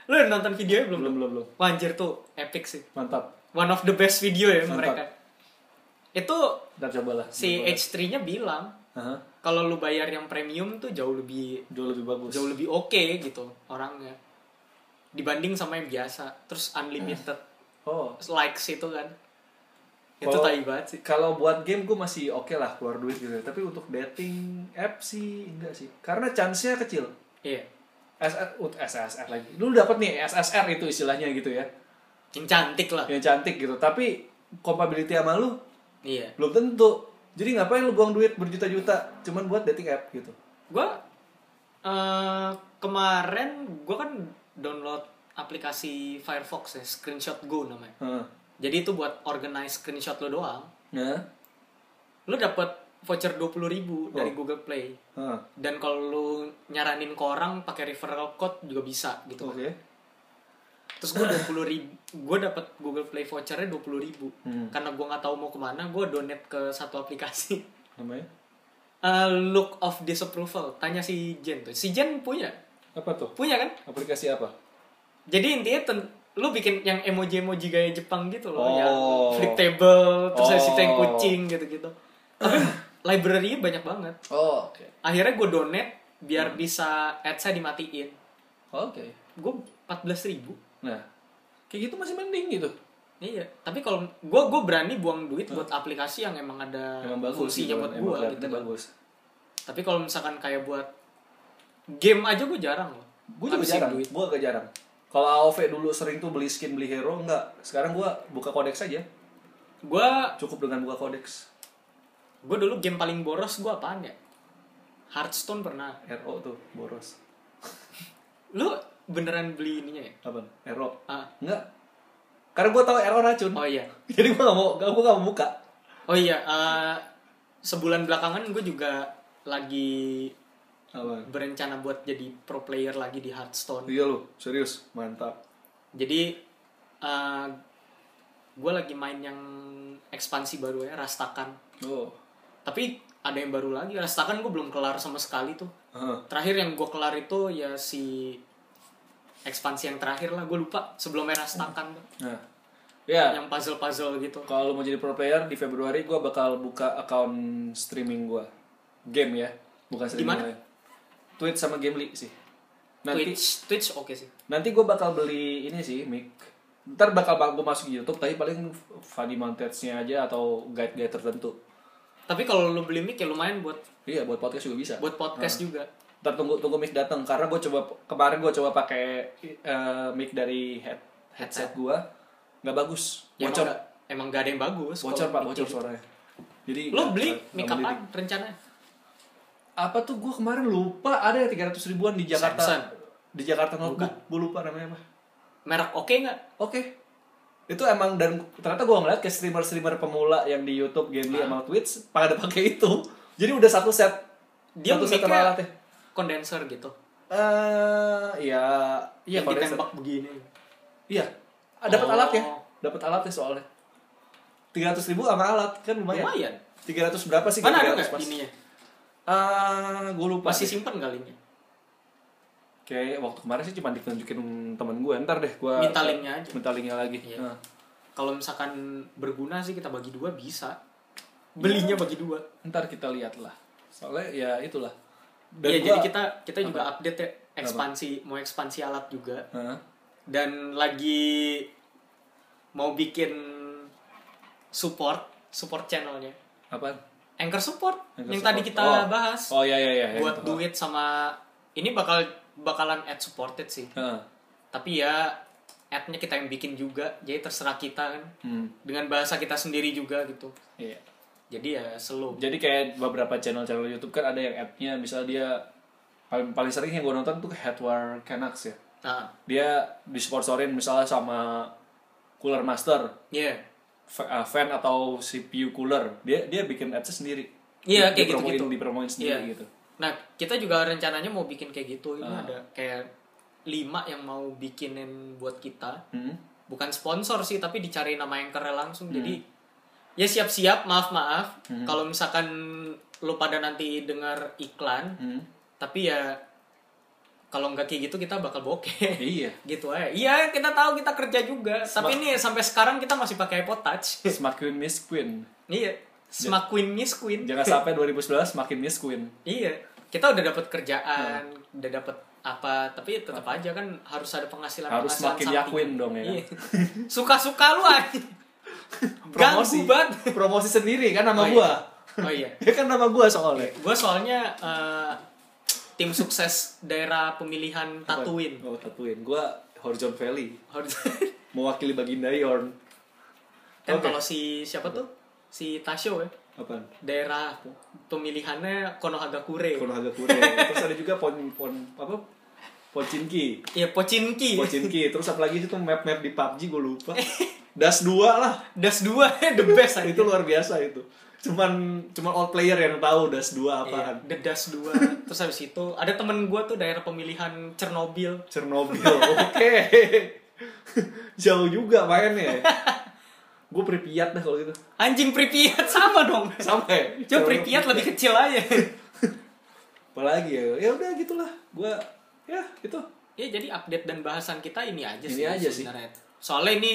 Lu udah nonton videonya belum? Belum, belum, belum. Wah, Anjir tuh epic sih. Mantap. One of the best video ya Mantap. mereka. Itu Ntar cobalah. si Cobalah. H3-nya bilang Aha, kalau lu bayar yang premium tuh jauh lebih Jauh lebih bagus. jauh lebih oke gitu orangnya dibanding sama yang biasa terus unlimited Oh. likes itu kan itu Kalau- tai banget sih Kalau buat game gue masih oke lah keluar duit gitu. Tapi untuk dating app sih enggak sih. Karena chance-nya kecil. iya SR, ut- SSR lagi. Lu dapat nih SSR itu istilahnya gitu ya. yang cantik lah Yang cantik gitu. Tapi compatibility sama lu iya belum tentu. Jadi ngapain lu buang duit berjuta-juta cuman buat dating app gitu. gue eh, kemarin gue kan download aplikasi Firefox ya screenshot go namanya Heeh. jadi itu buat organize screenshot lo doang Nah. lo dapet voucher 20.000 dari Oh. Google Play Heeh. dan kalau lu nyaranin ke orang pakai referral code juga bisa gitu Oke. terus gue dua puluh ribu gue dapat Google Play vouchernya dua puluh ribu Hmm. karena gue nggak tahu mau kemana gue donate ke satu aplikasi Namanya Eh, look of disapproval tanya si Jen tuh si Jen punya apa tuh? punya kan Aplikasi apa? jadi intinya ten- lu bikin yang emoji emoji gaya Jepang gitu loh Oh. yang flip table terus ada si tank Oh. kucing gitu gitu tapi library-nya banyak banget Oh, oke. akhirnya gue donate Hmm. biar bisa ads-nya dimatiin Oke. gue empat belas ribu Nah, kayak gitu masih mending gitu. Iya, tapi kalau gue gue berani buang duit buat aplikasi yang emang ada Emang bagus fungsinya gitu, buat emang gue kelihatannya gitu. kan. bagus. Tapi kalau misalkan kayak buat game aja gue jarang loh. Gue juga Habisin jarang, duit. gue agak jarang. Kalau AOV dulu sering tuh beli skin, beli hero, enggak. Sekarang gue buka kodeks aja. Gue Cukup dengan buka kodeks. gue dulu game paling boros gue apaan ya? Hearthstone pernah. RO tuh, boros. Lu beneran beli ininya ya? Apa? RO. Ah, Enggak. Karena gue tahu RO racun. oh iya, Jadi gue gak mau, gue gak mau buka. oh iya. eh, sebulan belakangan gue juga lagi Apa? berencana buat jadi pro player lagi di Hearthstone. Iya lu, serius. Mantap. Jadi gue lagi main yang ekspansi baru ya, Rastakan. Oh. Tapi ada yang baru lagi, Rastakan gue belum kelar sama sekali tuh. Heeh. Terakhir yang gue kelar itu ya si ekspansi yang terakhir lah, gue lupa sebelumnya Rastakan tuh. Nah. Ya, yang puzzle-puzzle gitu. Kalau lu mau jadi pro player di Februari gua bakal buka account streaming gua. Game ya, bukan streaming Gimana? lain. Tweet sama Gamely sih. Nanti Twitch, Twitch oke sih. nanti gua bakal beli ini sih mic. Ntar bakal gua masuk YouTube tapi paling funny montage-nya aja atau guide-guide tertentu. Tapi kalau lu beli mic ya lumayan buat Iya, buat podcast juga bisa. buat podcast Hmm. juga. Ntar tunggu tunggu mic datang karena gue coba kemarin gue coba pakai eh, mic dari head, headset gua nggak bagus. Ya, Bocor, Emang, gak, emang nggak ada yang bagus. bocor kalau Pak, mic bocor gitu. suaranya. Jadi Lu nggak- beli nggak- mic nggak beli apaan rencananya? apa tuh gue kemarin lupa ada yang 300 ribuan di Jakarta Samsung. di Jakarta notebook gue lupa namanya apa Merek oke nggak? oke itu emang dan ternyata gue ngeliat ke streamer streamer pemula yang di YouTube Gamely sama Twitch pada pakai itu jadi udah satu set Dia satu set sama mic-nya- alatnya Kondenser gitu. eh ya iya yang kalau dia- ditembak begini. iya Ah, dapat Oh. alatnya dapat alatnya soalnya 300 ribu sama alat kan lumayan, Lumayan. 300 berapa sih Mana ada 300 nggak pas. ininya? ah gue lupa Masih deh. simpen kalinya. Kayak waktu kemarin sih cuma ditunjukin temen gue, ntar deh gue Minta linknya aja. Minta linknya lagi. Iya. Nah. Kalau misalkan berguna sih kita bagi dua bisa. Belinya bagi dua. ntar kita lihat lah. Soalnya ya itulah. Dan Iya gua- jadi kita kita juga update ya ekspansi mau ekspansi alat juga Hah? dan lagi mau bikin support support channelnya Apaan? anchor support Anchor yang support. tadi kita Oh. bahas Oh iya iya iya. buat iya. duit sama ini bakal bakalan ad supported sih Heeh. tapi ya adnya kita yang bikin juga jadi terserah kita kan Hmm. dengan bahasa kita sendiri juga gitu Iya. jadi ya slow Jadi kayak beberapa channel-channel YouTube kan ada yang app-nya misalnya dia paling paling sering yang gue nonton tuh Headwear Canucks ya. nah Dia disponsorin misalnya sama Cooler Master, ya fa- ah, fan atau CPU cooler. Dia dia bikin ads sendiri. Di- Iya, kayak dipromoin- gitu-gitu. Dipromoin sendiri gitu. nah kita juga rencananya mau bikin kayak gitu ini Ah. ada kayak lima yang mau bikinin buat kita Hmm. bukan sponsor sih tapi dicari nama yang keren langsung jadi ya siap-siap maaf maaf Hmm. kalau misalkan lo pada nanti dengar iklan Hmm. tapi ya kalau nggak kayak gitu kita bakal bokeh Iya. gitu aja iya kita tahu kita kerja juga tapi ini sampai sekarang kita masih pakai iPod Touch Smart Queen Miss Queen. Iya. Semakin miss queen. Jangan sampai 2019 makin Miss Queen. Iya, kita udah dapat kerjaan, udah dapat apa, tapi tetap aja kan harus ada penghasilan. Harus makin yakin dong ya. Suka-suka lu aja. Promosi. Ganggu banget. Promosi sendiri kan nama Oh, iya. gua. Oh iya. Ya kan nama gua soalnya. Gue soalnya eh, tim sukses daerah pemilihan Tatuin. Oh, Tatuin. Gua Horizon Valley. Harus- Mewakili Baginda Yorn. kan Oke. kalau si siapa tuh? Si Tasyo ya. Apaan? Daerah pemilihannya Konohagakure. Konohaga Kure. Terus ada juga Pon Pon apa? Pocinki. Iya, Pocinki. Pocinki. Terus apalagi itu tuh map-map di PUBG gue lupa. Das 2 lah. Das 2 the best Itu luar biasa itu. Cuman cuman all player yang tahu Das 2 Iya, apaan. The Dust 2. Terus habis itu ada temen gue tuh daerah pemilihan Chernobyl. Chernobyl. Oke. Jauh juga mainnya. gue Pripyat dah kalau gitu. Anjing Pripyat sama dong. Sama ya? Cuma Pripyat lebih kecil aja. Apalagi ya. Ya udah gitulah. Gue ya gitu. ya jadi update dan bahasan kita ini aja sih. Ini aja sih. sebenarnya. Soalnya ini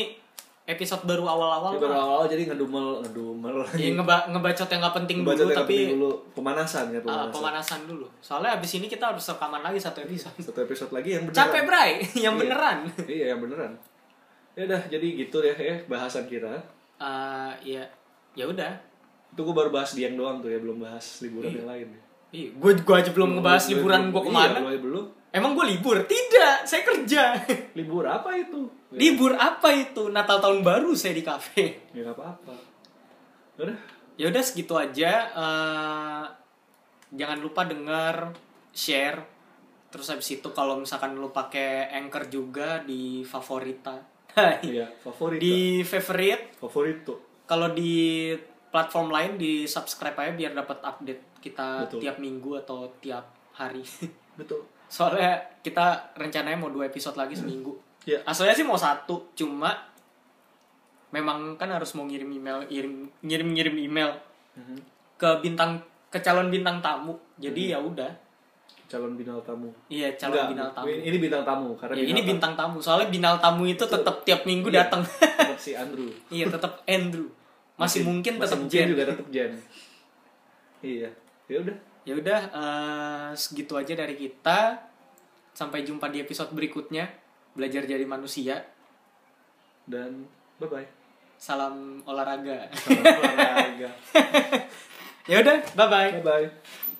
episode baru awal-awal. Ini baru awal jadi ngedumel ngedumel. Ya, ngeba- ngebacot yang nggak penting Baca dulu tapi dulu pemanasan ya ah, pemanasan. pemanasan dulu. Soalnya abis ini kita harus rekaman lagi satu episode. Satu episode lagi yang beneran. Capek Bray, yang Iya. beneran. Iya yang beneran. Ya udah jadi gitu ya, ya bahasan kita. Ah, ya ya udah. Itu gue baru bahas Dieng doang tuh ya, belum bahas Iya. liburan yang lain. Ih, Gue gua aja belum ngebahas liburan gue kemana. Iya, lu aja belum. Emang gue libur? Tidak, saya kerja. Libur apa itu? Ya, Libur apa itu? Natal tahun baru saya di kafe. ya nggak apa-apa. Udah, Ya udah segitu aja. Eh, jangan lupa dengar, share. Terus habis itu kalau misalkan lu pakai anchor juga di favorita. iya favorito. di favorite. Favorito. Kalau di platform lain di subscribe aja biar dapat update kita Betul. tiap minggu atau tiap hari. Betul. Soalnya kita rencananya mau dua episode lagi seminggu. Ya. Asalnya sih mau satu, cuma memang kan harus mau ngirim email, ngirim ngirim ngirim email Mhm. ke bintang ke calon bintang tamu. Hmm. Jadi ya udah. Calon bintang tamu. Iya, calon Nggak, bintang tamu. Ini, ini bintang tamu karena Ya, ini bintang tamu. Soalnya bintang tamu itu tetap tiap minggu Iya. datang. Tetap si Andrew. iya, tetap Andrew. Masih, mungkin masih tetap mungkin Jen. juga tetap Jen. iya. Ya udah. Ya udah eh, segitu aja dari kita. Sampai jumpa di episode berikutnya. Belajar jadi manusia. Dan bye bye. Salam olahraga. Olahraga. ya udah, bye bye. bye bye.